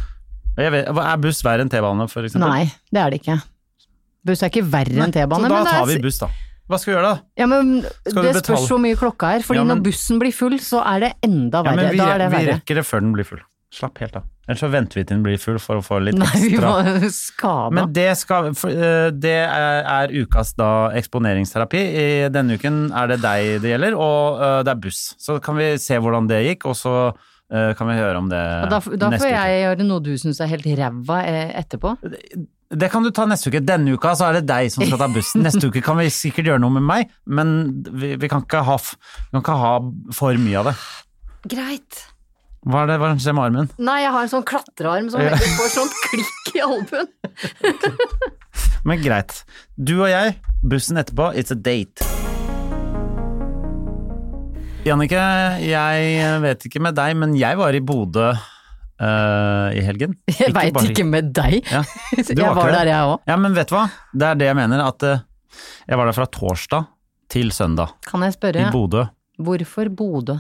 S1: Og Jeg vet, er buss verre enn T-bane, for eksempel?
S2: Nei, det er det ikke. Buss er ikke verre enn T-bane.
S1: Så da
S2: men det er-
S1: tar vi buss, da. Hva skal vi gjøre, da?
S2: Ja, men
S1: Skal
S2: det
S1: du
S2: spørs
S1: betale?
S2: hvor mye klokka er, fordi
S1: Ja, men-
S2: når bussen blir full, så er det enda
S1: Ja,
S2: verre.
S1: men vi,
S2: da er det
S1: vi
S2: verre.
S1: rekker det før den blir full. Slapp helt av. Ellers så venter vi til den blir full for å få litt
S2: Nei, vi
S1: ekstra.
S2: var skada.
S1: Men det, skal, for, eh, det er, er ukas da eksponeringsterapi. I denne uken er det deg det gjelder, og eh, det er buss. Så kan vi se hvordan det gikk, og så eh, kan vi høre om det
S2: Da, da får
S1: neste
S2: jeg gjøre noe du syns er helt ræva eh, etterpå.
S1: uke. Det kan du ta neste uke. Denne uka så er det deg som skal ta bussen. Neste uke kan vi sikkert gjøre noe med meg, men vi, vi, kan, ikke ha, f- vi kan ikke ha for mye av det.
S2: Greit.
S1: Hva er det hva er det som skjer med armen?
S2: Nei, jeg har en sånn klatrearm som
S1: Ja.
S2: får sånn klikk i albuen.
S1: Men greit. Du og jeg, bussen etterpå, it's a date. Jannicke, jeg vet ikke med deg, men jeg var i Bodø eh, i helgen.
S2: Jeg veit
S1: bare-
S2: ikke med deg.
S1: Ja.
S2: Jeg
S1: var ikke
S2: var,
S1: det.
S2: der, jeg òg.
S1: ja, men vet du hva? Det er det jeg mener, at eh, jeg var der fra torsdag til søndag
S2: Kan jeg spørre,
S1: i Bodø.
S2: hvorfor Bodø?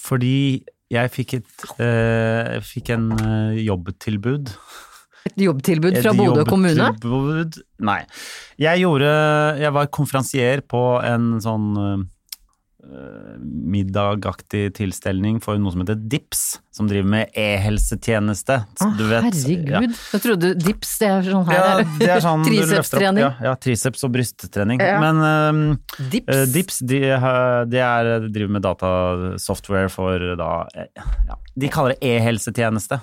S1: Fordi jeg fikk, et, eh, fikk en eh, jobbtilbud.
S2: Et jobbtilbud fra
S1: Et
S2: Bodø kommune?
S1: jobbtilbud? Nei. Jeg gjorde Jeg var konferansier på en sånn øh, middagaktig tilstelning for noe som heter Dips, som driver med e-helsetjeneste.
S2: Å,
S1: Du vet- ja.
S2: herregud. Jeg trodde dips, det er sånn her.
S1: Ja, det er sånn du løfter opp.
S2: Tricepstrening.
S1: Ja, ja, triceps og brysttrening.
S2: Ja.
S1: Men øhm,
S2: Dips.
S1: Eh, Dips de, har- de, er, de driver med datasoftware for da eh, ja, De kaller det e-helsetjeneste.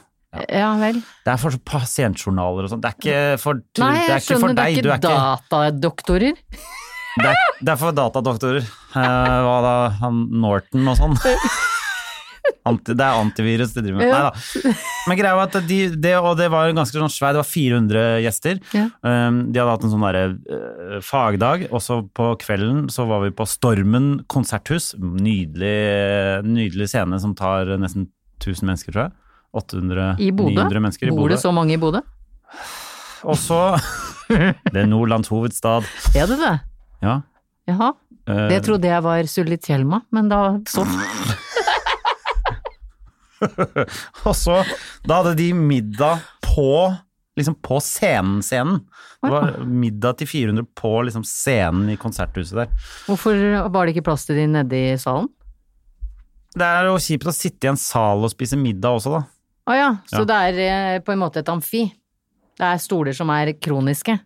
S2: Ja vel.
S1: Det er for pasientjournaler og sånn. Det er ikke for,
S2: Nei,
S1: det er
S2: jeg
S1: ikke for
S2: skjønner, det
S1: deg.
S2: er
S1: du
S2: ikke datadoktorer.
S1: Det er, det er for datadoktorer. Eh, hva da? Han Norton og sånn. Anti, det er antivirus de driver med. Nei
S2: Ja.
S1: da. Men greia var at de, det, og det var en ganske sånn svær, det var 400 gjester.
S2: Ja.
S1: Um, de hadde hatt en sånn derre eh, fagdag, og så på kvelden så var vi på Stormen konserthus. Nydelig, nydelig scene som tar nesten 1000 mennesker, tror jeg.
S2: I Bodø?
S1: 800-900 mennesker i
S2: Bor
S1: Bodø.
S2: det så mange i Bodø?
S1: Og så Det er Nordlands hovedstad.
S2: Er det det?
S1: Ja.
S2: Jaha.
S1: eh,
S2: Jeg trodde jeg var Sulitjelma, men da så
S1: Og så Da hadde de middag på Liksom på scenen, scenen. Det var middag til 400 på liksom scenen i konserthuset der.
S2: Hvorfor var det ikke plass til de nede i salen?
S1: Det er jo kjipt å sitte i en sal og spise middag også, da.
S2: Å ja,
S1: Ja.
S2: så det er eh, på en måte et amfi. Det er stoler som er kroniske.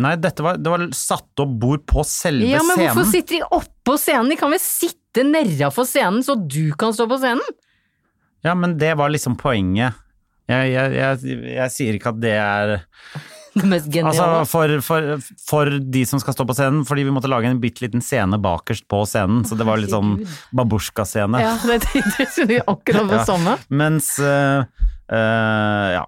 S1: Nei, dette var, det var satt opp bord på selve
S2: Ja, men hvorfor
S1: scenen.
S2: sitter de oppå scenen? De kan vel sitte nedafor scenen, så du kan stå på scenen?
S1: Ja, men det var liksom poenget. Jeg, jeg, jeg, jeg sier ikke at det er
S2: Det mest
S1: Altså,
S2: geniale.
S1: for, for, for de som skal stå på scenen, fordi vi måtte lage en bitte liten scene bakerst på scenen, så det var litt sånn babusjka-scene.
S2: ja, det tenkte jeg skulle gjøre akkurat det
S1: Ja.
S2: samme.
S1: Mens eh, eh, Ja.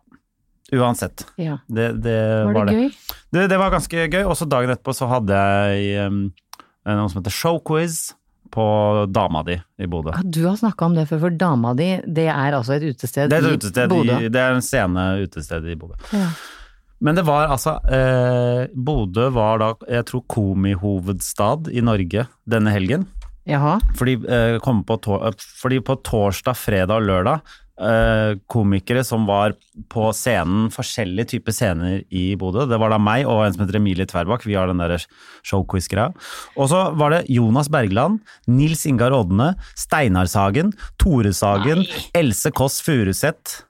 S1: Uansett.
S2: Ja.
S1: Det, det
S2: Var
S1: Eh, var,
S2: det,
S1: det.
S2: gøy?
S1: Det, det var ganske gøy. Også dagen etterpå så hadde jeg em, noe som heter showquiz på dama di i Bodø.
S2: Ja, du har snakka om det før, for dama di, det er altså et utested,
S1: Det er, et utested,
S2: i Bodø.
S1: i, det er en scene utested i Bodø.
S2: Ja.
S1: Men det var altså eh, Bodø var da, jeg tror, komihovedstad i Norge denne helgen.
S2: Jaha.
S1: Fordi, eh, kom på tor eh, fordi på torsdag, fredag og lørdag eh, Komikere som var på scenen, forskjellige typer scener i Bodø. Det var da meg og en som heter Emilie Tverbakk. Vi har den der showquiz-greia. Og så var det Jonas Bergland, Nils Ingar Odne, Steinar Sagen, Tore Sagen, Else Kåss Furuseth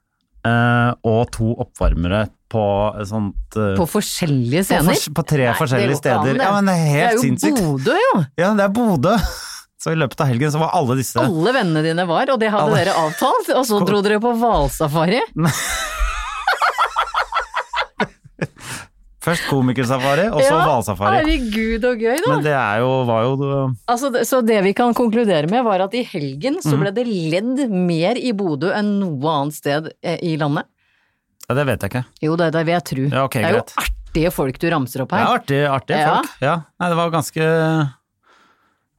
S1: eh, og to oppvarmere på et sånt eh,
S2: På forskjellige
S1: på,
S2: scener?
S1: fors- på tre
S2: Nei, det går
S1: forskjellige
S2: ikke an,
S1: steder.
S2: det.
S1: Ja, men det er
S2: Det er
S1: helt
S2: jo
S1: sinnssykt.
S2: Bodø, jo!
S1: Ja, det er Bodø. Så i løpet av helgen så var alle disse
S2: Alle vennene dine var, og det hadde
S1: Alle.
S2: dere avtalt. Og så dro dere på hvalsafari.
S1: Først komikersafari, og så
S2: Ja,
S1: hvalsafari.
S2: Herregud, og gøy, da.
S1: Men det er jo, var jo
S2: Altså, det- så det vi kan konkludere med, var at i helgen
S1: Mhm.
S2: så ble det ledd mer i Bodø enn noe annet sted eh, i landet.
S1: ja, Det vet jeg ikke.
S2: Jo, det, det vil jeg tro.
S1: Ja, ok,
S2: det er
S1: greit.
S2: jo artige folk du ramser opp
S1: Det er
S2: her.
S1: artig, artig
S2: Ja.
S1: folk. Ja. Nei, det var ganske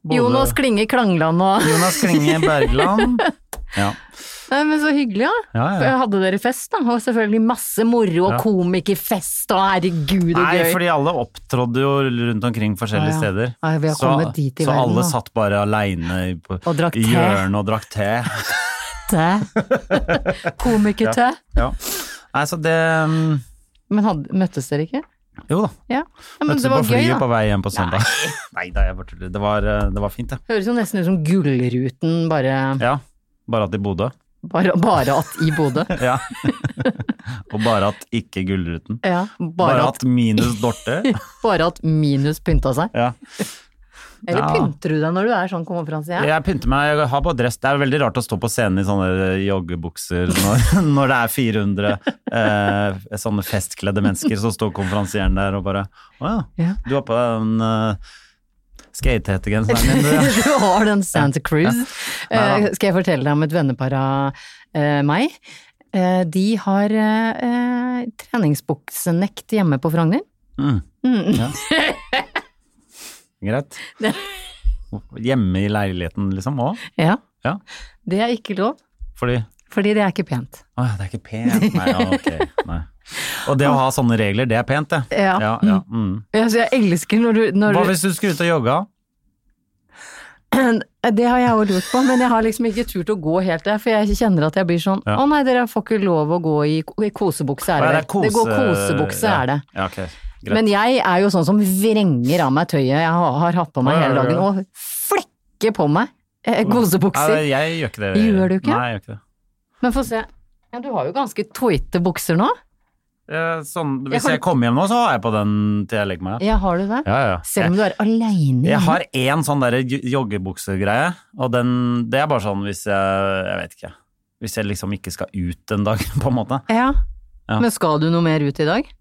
S1: Bodø-
S2: Jonas Klinge Klangland og
S1: Jonas Klinge Bergland. Ja.
S2: Nei, Men så hyggelig, da.
S1: ja, ja.
S2: Hadde dere fest, da? Og selvfølgelig masse moro og
S1: Ja.
S2: komikerfest og herregud og
S1: Nei,
S2: gøy.
S1: fordi alle opptrådde jo rundt omkring forskjellige
S2: Ja, ja.
S1: steder.
S2: Nei, vi har
S1: så
S2: kommet dit i
S1: så
S2: verden,
S1: alle
S2: da.
S1: satt bare aleine i på-
S2: Og drakk
S1: i
S2: te.
S1: hjørnet og drakk te.
S2: Te. Komikertø.
S1: Ja. Nei, så det mm,
S2: Men hadde, møttes dere ikke?
S1: Jo da.
S2: Ja. ja men
S1: Møttes
S2: det
S1: på
S2: var gøy,
S1: flyet
S2: da.
S1: på vei hjem på søndag. Nei da, jeg bare tuller. Det var, eh, det var fint, det.
S2: Høres jo nesten ut som Gullruten, bare,
S1: Ja. Bare at i Bodø.
S2: bare, bare at i Bodø.
S1: Ja. Og bare at ikke Gullruten.
S2: Ja,
S1: Bare
S2: bare at,
S1: at minus Dorte.
S2: bare at minus pynta seg.
S1: Ja.
S2: Eller
S1: Ja.
S2: pynter du deg når du er sånn konferansier?
S1: Jeg pynter meg, jeg har på dress. Det er veldig rart å stå på scenen i sånne eh, joggebukser når, når det er 400 eh, sånne festkledde mennesker, så står konferansieren der og bare Å ja,
S2: Ja.
S1: du har på deg den eh, skatehette-genseren din, du. ja.»
S2: Du har den Santa Cruz. Eh, skal jeg fortelle deg om et vennepar av eh, meg? Eh, de har eh, eh, treningsbuksenekt hjemme på Frogner.
S1: Mm. Ja. Greit. Hjemme i leiligheten, liksom, òg?
S2: Ja.
S1: Ja.
S2: Det er ikke lov,
S1: Fordi
S2: fordi det er ikke pent.
S1: Å ja, det er ikke pent. Nei, ja, ok. Nei. Og det å ha sånne regler, det er pent, det.
S2: Ja.
S1: Ja, mm.
S2: Ja, så jeg elsker når du, når
S1: Hva
S2: du
S1: hvis du skulle ut og jogge?
S2: Det har jeg òg lurt på, men jeg har liksom ikke turt å gå helt der, for jeg kjenner at jeg blir sånn
S1: Ja.
S2: Å nei, dere får ikke lov å gå i, i kosebukse, er
S1: Hva
S2: det vel? Det går kosebukse,
S1: ja.
S2: er det.
S1: Ja, ok. Greit.
S2: Men jeg er jo sånn som vrenger av meg tøyet jeg har, har hatt på meg
S1: Ja, ja,
S2: hele dagen,
S1: ja.
S2: og flekker på meg eh,
S1: Nei,
S2: kosebukser.
S1: jeg gjør ikke det.
S2: Gjør du ikke?
S1: Nei, jeg gjør ikke det.
S2: Men få se. Ja, du har jo ganske tighte bukser nå.
S1: Eh, Sånn,
S2: Jeg
S1: hvis
S2: kan-
S1: jeg kommer hjem nå, så har jeg på den til jeg legger meg.
S2: Ja, har du det?
S1: Ja, ja.
S2: Selv om du er aleine
S1: Jeg har én sånn derre j- joggebuksegreie, og den, det er bare sånn hvis jeg Jeg vet ikke. Hvis jeg liksom ikke skal ut en dag, på en måte.
S2: Ja.
S1: Ja.
S2: Men skal du noe mer ut i dag?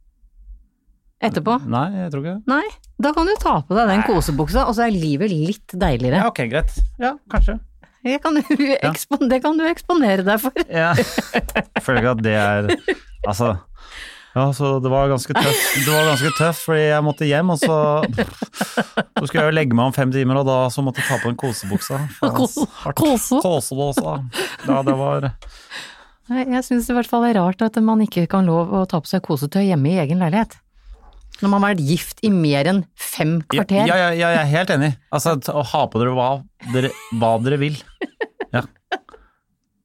S2: Etterpå?
S1: Nei, jeg tror ikke det.
S2: Nei, da kan du ta på deg den kosebuksa, og så er livet litt
S1: Ja,
S2: deiligere.
S1: ok, greit. Ja, kanskje.
S2: Det kan du, ekspon det kan du eksponere deg for.
S1: Ja. Jeg føler ikke at det er Altså ja, så det var ganske tøft, det var ganske tøft fordi jeg måtte hjem, og så Så skulle jeg jo legge meg om fem timer, og da så måtte jeg ta på en kosebuksa. Faen, ass. Hardt.
S2: Kose?
S1: Kosebuksa. Ja, det var
S2: Nei, Jeg syns i hvert fall det er rart at man ikke kan lov å ta på seg kosetøy hjemme i egen leilighet. Når man har vært gift i mer enn fem
S1: Ja,
S2: kvarter.
S1: ja, ja, jeg er helt enig. Altså, t- å ha på dere hva dere, hva dere vil. Ja.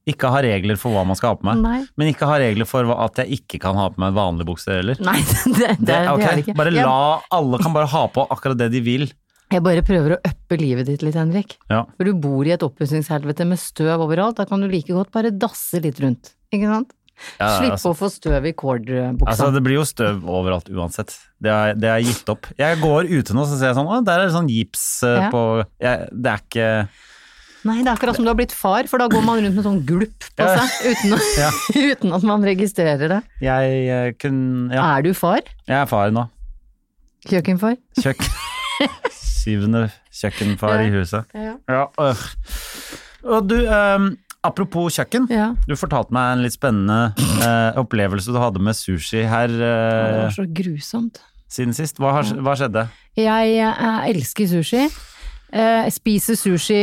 S1: Ikke ha regler for hva man skal ha på meg.
S2: Nei.
S1: Men ikke ha regler for hva- at jeg ikke kan ha på meg vanlige bukser heller.
S2: Nei, det, det, det,
S1: Det- ok,
S2: er det ikke.
S1: Bare
S2: Jeg-
S1: la Alle kan bare ha på akkurat det de vil.
S2: Jeg bare prøver å uppe livet ditt litt, Henrik.
S1: Ja.
S2: For du bor i et oppussingshelvete med støv overalt, da kan du like godt bare dasse litt rundt, ikke sant?
S1: Ja,
S2: Slipp liksom.
S1: altså.
S2: å få støv i cordbuksa.
S1: Altså, det blir jo støv overalt uansett. Det er, det er gitt opp. Jeg går ute nå, så ser jeg sånn Å, der er det sånn gips eh,
S2: Ja.
S1: på jeg, Det er ikke
S2: Nei, det er akkurat som du har blitt far, for da går man rundt med sånn gulp på
S1: Ja.
S2: seg, uten, å,
S1: Ja.
S2: uten at man registrerer det.
S1: Jeg, eh, kun Ja,
S2: Er du far?
S1: jeg er far nå.
S2: Kjøkkenfar?
S1: Kjøkken. Syvende kjøkkenfar i huset. Ja, øh. Og du, ehm, apropos kjøkken.
S2: Ja.
S1: Du fortalte meg en litt spennende eh, opplevelse du hadde med sushi her
S2: Det
S1: eh,
S2: var så grusomt.
S1: siden sist. Hva, har, hva skjedde?
S2: Jeg eh, elsker sushi. Eh, Jeg spiser sushi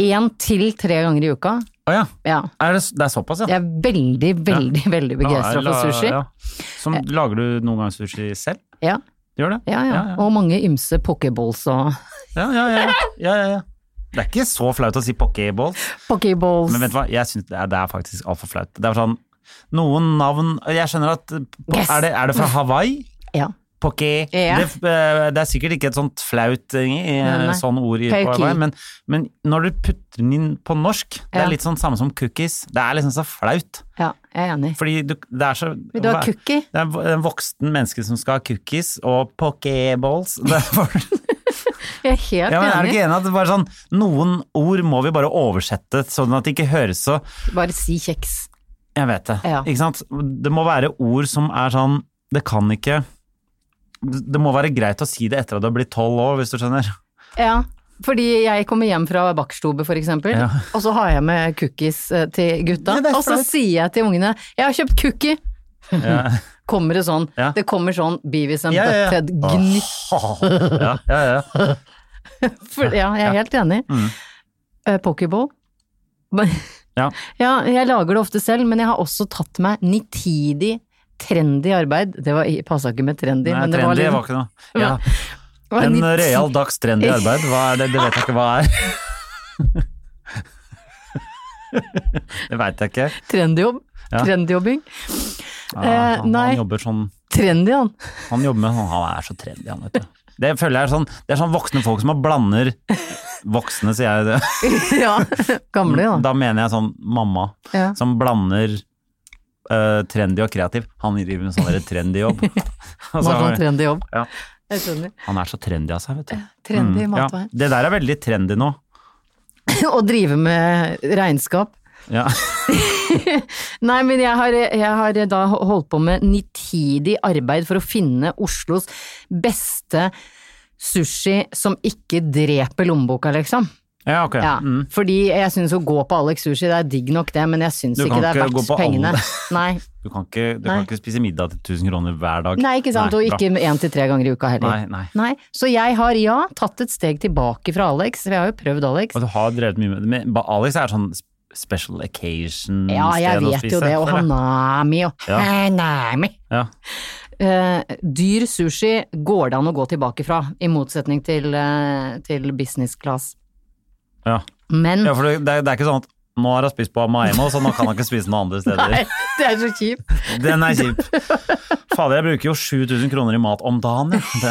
S2: én til tre ganger i uka.
S1: Å ja.
S2: Ja.
S1: Er det, s- det er såpass, ja.
S2: Jeg er veldig, veldig, veldig
S1: Ja,
S2: begeistra for
S1: la-
S2: sushi.
S1: ja. Som, lager du noen gang sushi selv?
S2: Ja.
S1: Du gjør det?
S2: Ja, ja.
S1: Ja, ja.
S2: Og mange ymse pokeballs og
S1: Ja, ja, ja. ja, ja, ja. Det er ikke så flaut å si pokéballs,
S2: Pokeballs.
S1: men vet du hva, jeg syns det, er- det er faktisk altfor flaut. Det er sånn, noen navn Jeg skjønner at
S2: Yes.
S1: er, det, er det fra Hawaii?
S2: Ja.
S1: Poké
S2: Ja.
S1: det, eh, det er sikkert ikke et sånt flaut eh,
S2: Nei, nei.
S1: sånn ord i, på
S2: Poké.
S1: Hawaii, men, men når du putter den inn på norsk, det
S2: Ja.
S1: er litt sånn samme som cookies. Det er liksom så flaut.
S2: ja, jeg er enig.
S1: Fordi du, det er så
S2: Vil du ha
S1: hva-
S2: cookie?
S1: Det er en vo- en voksen menneske som skal ha cookies og pokéballs. Det er for-
S2: Jeg er helt
S1: Ja, men er du
S2: enig.
S1: ikke enig at det bare sånn, noen ord må vi bare oversette, sånn at det ikke høres så
S2: Bare si kjeks.
S1: Jeg vet det.
S2: Ja.
S1: Ikke sant? Det må være ord som er sånn Det kan ikke Det må være greit å si det etter at du har blitt tolv år, hvis du skjønner.
S2: Ja, fordi jeg kommer hjem fra bakstube for eksempel,
S1: Ja.
S2: og så har jeg med cookies eh, til gutta,
S1: Ja, det er
S2: og så
S1: flaut.
S2: sier jeg til ungene 'jeg har kjøpt cookie'.
S1: Ja.
S2: Kommer det sånn.
S1: Ja.
S2: Det kommer sånn Beavis and
S1: Ja, ja, ja.
S2: Butthead-gnitt.
S1: Ja, ja, ja.
S2: For- Ja, jeg er helt enig. Eh, Pokéball. Men-
S1: Mm. Ja.
S2: ja, jeg lager det ofte selv, men jeg har også tatt meg nitidig trendy arbeid. Det var- passa ikke med trendy,
S1: Nei,
S2: men det var
S1: trendy
S2: litt
S1: var ikke noe. Ja.
S2: det var
S1: En
S2: nit-
S1: real dags trendy arbeid, hva er det? Det vet jeg ikke hva er. Det veit jeg ikke.
S2: Trendyjobb.
S1: Ja.
S2: Trendyjobbing.
S1: Ja,
S2: Eh,
S1: han,
S2: nei.
S1: han jobber sånn
S2: Trendy, han.
S1: Han jobber med sånn, han er så trendy, han, vet du. Det føler jeg er sånn, det er sånn voksne folk som har blander Voksne, sier jeg det.
S2: ja. Gamle, da.
S1: Da mener jeg sånn mamma,
S2: Ja.
S1: som blander eh, trendy og kreativ. Han driver med sånn der trendy jobb. Og så
S2: Bare
S1: har-
S2: sånn trendy jobb.
S1: Ja.
S2: Jeg skjønner.
S1: han er så trendy av seg, vet du.
S2: Trendy
S1: Mm, ja.
S2: matvei.
S1: Det der er veldig trendy nå.
S2: Å drive med regnskap.
S1: Ja.
S2: Nei, men jeg har, jeg har da holdt på med nitidig arbeid for å finne Oslos beste sushi som ikke dreper lommeboka, liksom.
S1: Ja, ok.
S2: Ja,
S1: Mm.
S2: Fordi jeg syns å gå på Alex Sushi, det er digg nok det, men jeg syns
S1: Du
S2: ikke
S1: kan
S2: det er
S1: ikke gå
S2: verdt
S1: på alle.
S2: pengene. Nei,
S1: Du, kan ikke, du
S2: Nei.
S1: kan ikke spise middag til 1000 kroner hver dag.
S2: nei, ikke sant, og
S1: bra.
S2: ikke én til tre ganger i uka heller.
S1: Nei, nei.
S2: Nei, Så jeg har ja, tatt et steg tilbake fra Alex, for jeg har jo prøvd Alex.
S1: Og du har drevet mye med det. Men ba- Alex er sånn special occasion
S2: Ja, jeg vet jo det, og
S1: føler jeg.
S2: Hanami og
S1: Ja.
S2: Hanami.
S1: Ja.
S2: Eh, dyr sushi går det an å gå tilbake fra, i motsetning til, eh, til business class.
S1: Ja.
S2: Men
S1: Ja, for det, det, er, det er ikke sånn at nå har jeg spist på Amaemo, så nå kan jeg ikke spise noe andre steder.
S2: Nei, det er så kjipt.
S1: Den er kjip. Fader, jeg bruker jo 7000 kroner i mat om dagen, jeg. Det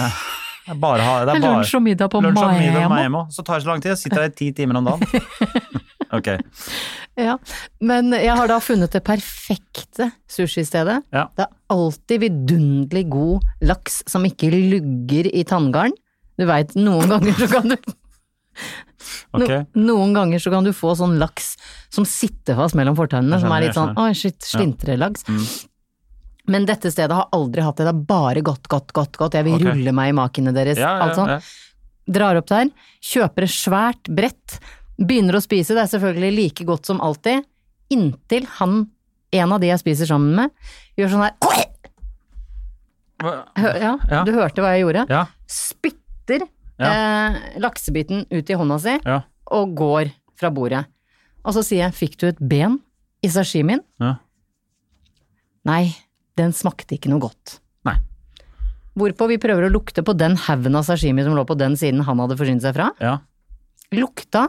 S1: er bare, ha- det er bare
S2: Lunsj og middag på
S1: lunsj og middag på
S2: Maemo.
S1: Maemo. Så tar det så lang tid. Jeg sitter her i ti timer om dagen. Ok.
S2: Ja. Men jeg har da funnet det perfekte sushistedet.
S1: Ja.
S2: Det er alltid vidunderlig god laks som ikke lugger i tanngarn. Du veit, noen ganger så kan du no,
S1: ok.
S2: Noen ganger så kan du få sånn laks som sitter fast mellom fortennene,
S1: Jeg
S2: som er
S1: skjønner, Mm.
S2: litt sånn
S1: jeg
S2: oi, shit, slintrelaks. Men dette stedet har aldri hatt det. Det er bare godt, godt, godt, godt. Jeg vil
S1: Ok.
S2: rulle meg i makene deres.
S1: Ja, ja,
S2: alt sånt.
S1: ja.
S2: Drar opp der, kjøper et svært brett, begynner å spise, det er selvfølgelig like godt som alltid, inntil han, en av de jeg spiser sammen med, gjør sånn her
S1: Hva-
S2: Hø- ja,
S1: Ja.
S2: du hørte hva jeg gjorde.
S1: Ja,
S2: Spytter
S1: Ja.
S2: eh, laksebiten ut i hånda si
S1: ja,
S2: og går fra bordet. Og så sier jeg, fikk du et ben i sashimien?
S1: ja.
S2: Nei, den smakte ikke noe godt.
S1: Nei.
S2: Hvorpå vi prøver å lukte på den haugen av sashimi som lå på den siden han hadde forsynt seg fra.
S1: Ja.
S2: Lukta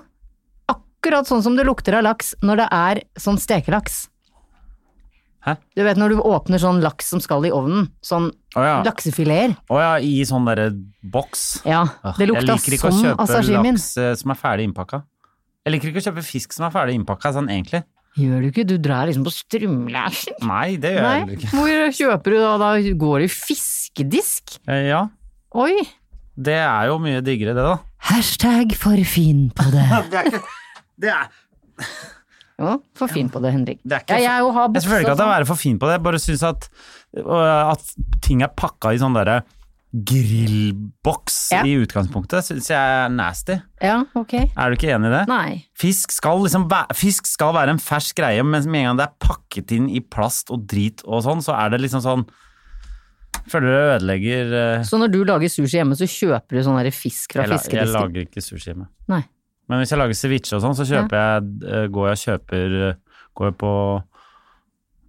S2: akkurat sånn som det lukter av laks når det er sånn stekelaks.
S1: Hæ?
S2: Du vet når du åpner sånn laks som skal i ovnen, sånn
S1: Å ja.
S2: laksefileter.
S1: Å ja, i sånn derre boks.
S2: Ja,
S1: Ah,
S2: det lukta
S1: Jeg liker ikke
S2: sånn
S1: å
S2: av
S1: kjøpe
S2: sashimin.
S1: laks eh, som er ferdig innpakka. Jeg liker ikke å kjøpe fisk som er ferdig innpakka, sånn egentlig.
S2: Gjør du ikke? Du drar liksom på strømlæsjen.
S1: Nei, det gjør jeg
S2: Nei,
S1: heller ikke.
S2: hvor kjøper du da? Da går det i fiskedisk.
S1: Eh, Ja,
S2: Oi!
S1: det er jo mye diggere det, da.
S2: Hashtag for fin på det.
S1: Det er ikke det er,
S2: Jo, for fin på det, Henrik.
S1: Det er ikke
S2: ja, jeg jo har
S1: Jeg selvfølgelig ikke at jeg
S2: sånn.
S1: er for fin på det, jeg bare syns at, øh, at ting er pakka i sånn derre grillboks
S2: Ja.
S1: i utgangspunktet, syns jeg er nasty.
S2: sånn. Ja, ok.
S1: Er du ikke enig i det?
S2: Nei.
S1: Fisk skal, liksom væ- fisk skal være en fersk greie, men med en gang det er pakket inn i plast og drit og sånn, så er det liksom sånn Føler det ødelegger øh,
S2: Så når du lager sushi hjemme, så kjøper du sånn der fisk fra
S1: jeg, la- jeg
S2: fiskedisken?
S1: lager ikke sushi hjemme.
S2: Nei.
S1: Men hvis jeg lager ceviche og sånn, så kjøper jeg, eh, går jeg og kjøper eh, Går jeg på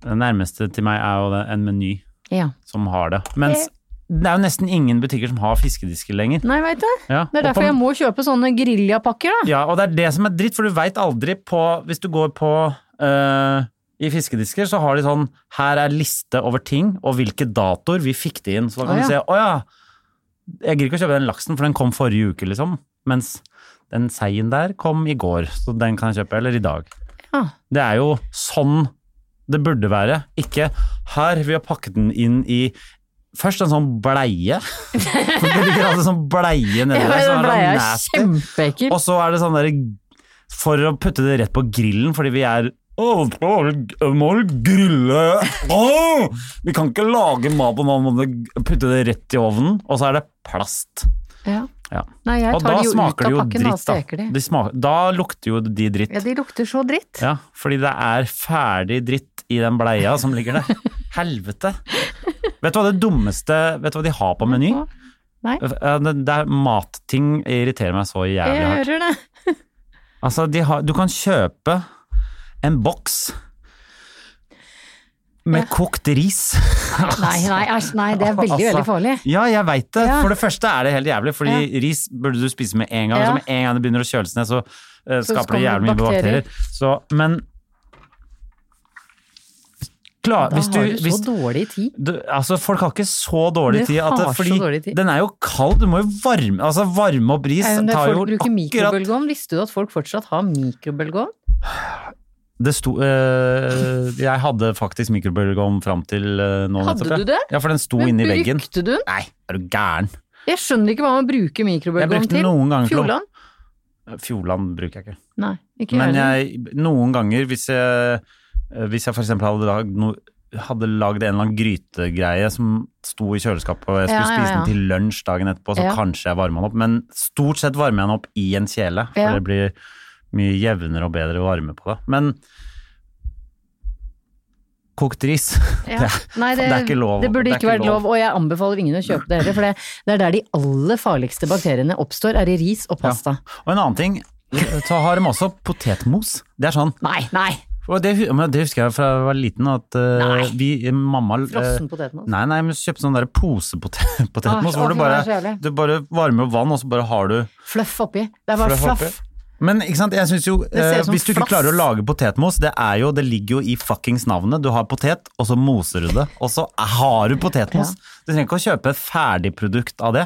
S1: Det nærmeste til meg er jo det- en meny
S2: Ja.
S1: som har det. Mens det er jo nesten ingen butikker som har fiskedisker lenger.
S2: Nei, veit du.
S1: Ja,
S2: Det er
S1: og på-
S2: derfor jeg må kjøpe sånne grilljapakker, da.
S1: Ja, og det er det som er dritt, for du veit aldri på Hvis du går på eh, i fiskedisker så har de sånn Her er liste over ting og hvilke datoer vi fikk det inn. Så da kan
S2: Å,
S1: du
S2: ja.
S1: se Å ja, jeg gidder ikke å kjøpe den laksen, for den kom forrige uke, liksom. Mens den seien der kom i går, så den kan jeg kjøpe. Eller i dag.
S2: Ja.
S1: Det er jo sånn det burde være. Ikke her, vi har pakket den inn i Først en sånn bleie. For det ligger alltid sånn bleie nedi
S2: Jeg
S1: der.
S2: vet,
S1: som er sånn
S2: den bleia er
S1: nasty.
S2: kjempeekkel.
S1: Og så er det sånn der For å putte det rett på grillen, fordi vi er Åh, må du grille Åh, Vi kan ikke lage mat på noen måte, putte det rett i ovnen, og så er det plast.
S2: Ja.
S1: Ja.
S2: Nei, jeg
S1: Og
S2: tar
S1: da
S2: de jo ut
S1: smaker det
S2: av
S1: jo
S2: pakken, da
S1: dritt, da.
S2: steker de.
S1: De smak- da lukter jo de dritt.
S2: Ja, de lukter så dritt.
S1: Ja, fordi det er ferdig dritt i den bleia som ligger der. Helvete! Vet du hva det dummeste Vet du hva de har på meny?
S2: Nei.
S1: Eh, Det det er matting irriterer meg så jævlig
S2: Jeg
S1: hardt.
S2: hører det.
S1: Altså, de har, du kan kjøpe en boks med kokt ris.
S2: Nei, nei, æsj, nei, det er veldig,
S1: Altså,
S2: veldig farlig.
S1: Ja, jeg veit det.
S2: Ja.
S1: For det første er det helt jævlig, fordi ris burde du spise med en gang.
S2: Ja.
S1: Så med en gang det begynner å kjøles ned, så eh,
S2: Så
S1: skaper det
S2: kommer
S1: jævlig mye
S2: bakterier.
S1: bakterier. Så, men Klar,
S2: Da
S1: hvis du,
S2: har du
S1: hvis,
S2: så dårlig tid.
S1: du, altså, folk har ikke så dårlig
S2: De
S1: tid. At det,
S2: har så
S1: fordi
S2: dårlig tid.
S1: den er jo kald, du må jo varme Altså, varme opp ris
S2: Nei, Eh, men det
S1: tar
S2: er
S1: jo
S2: folk bruker
S1: akkurat
S2: mikrobølgeovn. Visste du at folk fortsatt har mikrobølgeovn?
S1: Det sto eh, Jeg hadde faktisk mikrobølgeovn fram til eh, nå
S2: Hadde
S1: nettopp. ja.
S2: du det?
S1: Ja, for den sto
S2: Men
S1: inni veggen.
S2: brukte du den?
S1: Nei, er du gæren?
S2: Jeg skjønner ikke hva man bruker
S1: Jeg
S2: mikrobølgeovn
S1: brukte den
S2: til.
S1: noen ganger. til å-
S2: Fjordland?
S1: Fjordland bruker jeg ikke.
S2: Nei, ikke
S1: Men
S2: heller.
S1: jeg, noen ganger, hvis jeg, eh, hvis jeg for eksempel hadde lagd no, hadde lagd en eller annen grytegreie som sto i kjøleskapet, og jeg skulle
S2: Ja, ja,
S1: spise
S2: ja.
S1: den til lunsj dagen etterpå, så
S2: Ja.
S1: kanskje jeg varma den opp. Men stort sett varmer jeg den opp i en kjele, for
S2: Ja.
S1: det blir mye jevnere og bedre varme på det. Men kokt ris
S2: Ja. Nei,
S1: det er ikke lov.
S2: Det burde
S1: Det er
S2: ikke
S1: ikke
S2: vært lov. og jeg anbefaler ingen å kjøpe det heller, for det, det er der de aller farligste bakteriene oppstår, er i ris og pasta.
S1: Og en annen ting, så har de også potetmos. Det er sånn
S2: Nei, nei!
S1: og det, hu- men det husker jeg fra jeg var liten, at eh,
S2: Nei.
S1: vi, mamma eh,
S2: Frossen potetmos.
S1: Nei, nei, men kjøpte sånn der posepotetmos,
S2: Æsj,
S1: hvor du
S2: å, fy, det er så
S1: bare,
S2: jævlig.
S1: du bare varmer opp vann, og så bare har du
S2: Fluff oppi. Det er bare
S1: fluff
S2: fluff.
S1: oppi. Men ikke sant, jeg synes jo,
S2: ser
S1: eh,
S2: ut som
S1: hvis du ikke
S2: flass.
S1: klarer å lage potetmos, det er jo, det ligger jo i fuckings navnet. Du har potet, og så moser du det, og så har du potetmos. Du trenger ikke å kjøpe et ferdigprodukt av det.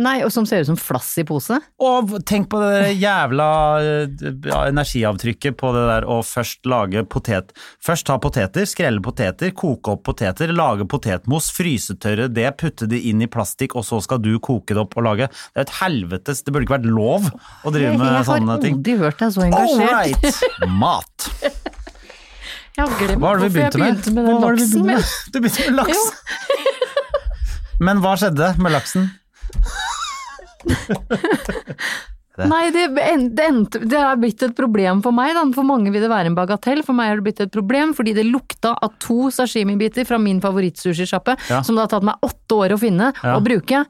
S2: Nei, og som ser ut som flass i pose.
S1: Og tenk på det jævla eh, ja, energiavtrykket på det der å først lage potet... Først ta poteter, skrelle poteter, koke opp poteter, lage potetmos, frysetørre det, putte det inn i plastikk, og så skal du koke det opp og lage. Det er et helvetes Det burde ikke vært lov å drive
S2: jeg
S1: med
S2: har
S1: sånne ting.
S2: aldri hørt deg
S1: All
S2: så engasjert.
S1: right! Mat.
S2: Jeg har glemt
S1: Hva var det vi
S2: hvorfor jeg
S1: begynte med? Hva
S2: begynte med den
S1: var det vi
S2: laksen.
S1: begynte
S2: men-
S1: med? Du begynte med laks. Men hva skjedde med laksen?
S2: Nei, det, en- det, endte, det er blitt et problem for meg. Da. For mange vil det være en bagatell, for meg er det blitt et problem fordi det lukta av to sashimibiter fra min favorittsushisjappe,
S1: Ja.
S2: som det har tatt meg åtte år å finne
S1: Ja.
S2: og bruke.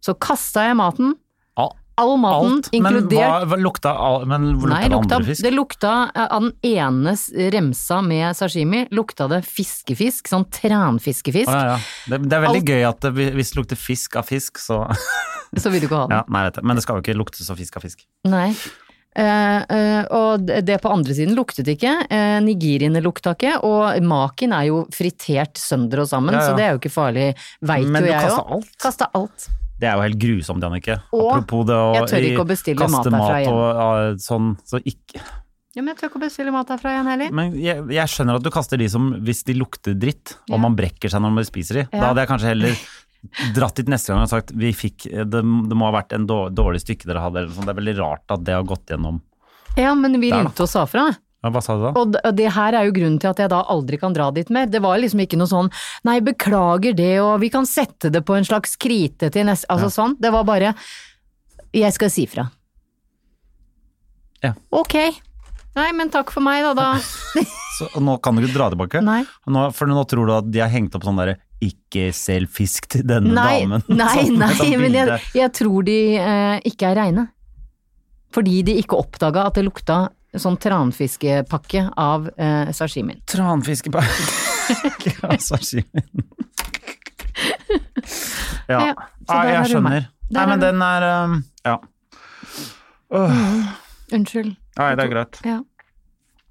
S2: Så kasta jeg maten.
S1: Ja.
S2: all maten,
S1: Alt, men
S2: inkludert
S1: hva, hva lukta, al- men lukta
S2: Nei,
S1: det
S2: lukta,
S1: andre fisk?
S2: det lukta eh, av den ene s- remsa med sashimi, lukta det fiskefisk, sånn tranfiskefisk.
S1: Å, ja, ja. Det, det er veldig
S2: Alt-
S1: gøy at det, hvis det lukter fisk av fisk, så
S2: Så vil du ikke ha den.
S1: ja, Nei, vet jeg. Men det skal jo ikke lukte så fisk av fisk.
S2: Nei. Eh, eh, og det det på andre siden luktet ikke. Uh, nigiriene lukta ikke. Og maken er jo fritert sønder og
S1: Ja,
S2: sammen,
S1: ja.
S2: så det er jo ikke farlig. Veit jo
S1: Men du
S2: jeg
S1: kasta
S2: også.
S1: alt.
S2: Kasta alt.
S1: Det er jo helt grusomt, Jannicke.
S2: Og
S1: Apropos det å
S2: jeg tør
S1: i-
S2: ikke å bestille mat
S1: kaste
S2: derfra
S1: mat
S2: igjen.
S1: og ja, sånn, så ikke
S2: Ja, men jeg tør ikke å bestille mat herfra igjen heller.
S1: Men jeg, jeg skjønner at du kaster de som hvis de lukter dritt,
S2: Ja.
S1: og man brekker seg når man spiser de. Da
S2: Ja.
S1: hadde jeg kanskje heller dratt dit neste gang og sagt vi fikk, det, det må ha vært en dår- dårlig stykke dere hadde, eller noe sånt. Det er veldig rart at det har gått gjennom.
S2: Ja, men vi
S1: Der, da.
S2: ringte og sa fra.
S1: Ja, hva sa du da?
S2: Og d- og det her er jo grunnen til at jeg da aldri kan dra dit mer. Det var liksom ikke noe sånn nei, beklager det, og vi kan sette det på en slags krite til neste Altså sånn. Det var bare jeg skal si fra.
S1: Ja.
S2: Ok. Nei, men takk for meg, da. da.
S1: Så nå kan du ikke dra tilbake.
S2: Nei.
S1: Nå, for nå tror du at de har hengt opp sånn derre ikke selg fisk til denne
S2: Nei,
S1: damen.
S2: nei,
S1: Sånn,
S2: nei,
S1: sånn
S2: men jeg,
S1: bilde.
S2: jeg tror de eh, ikke er reine. Fordi de ikke oppdaga at det lukta sånn tranfiskepakke av eh, sashimien.
S1: Tranfiske på Sashimien. ja.
S2: Ja, så
S1: Nei,
S2: der
S1: jeg
S2: har du meg.
S1: skjønner.
S2: Der
S1: Nei,
S2: har
S1: men
S2: du-
S1: den er um, Ja. Åh,
S2: Unnskyld.
S1: Nei, det er greit.
S2: Ja.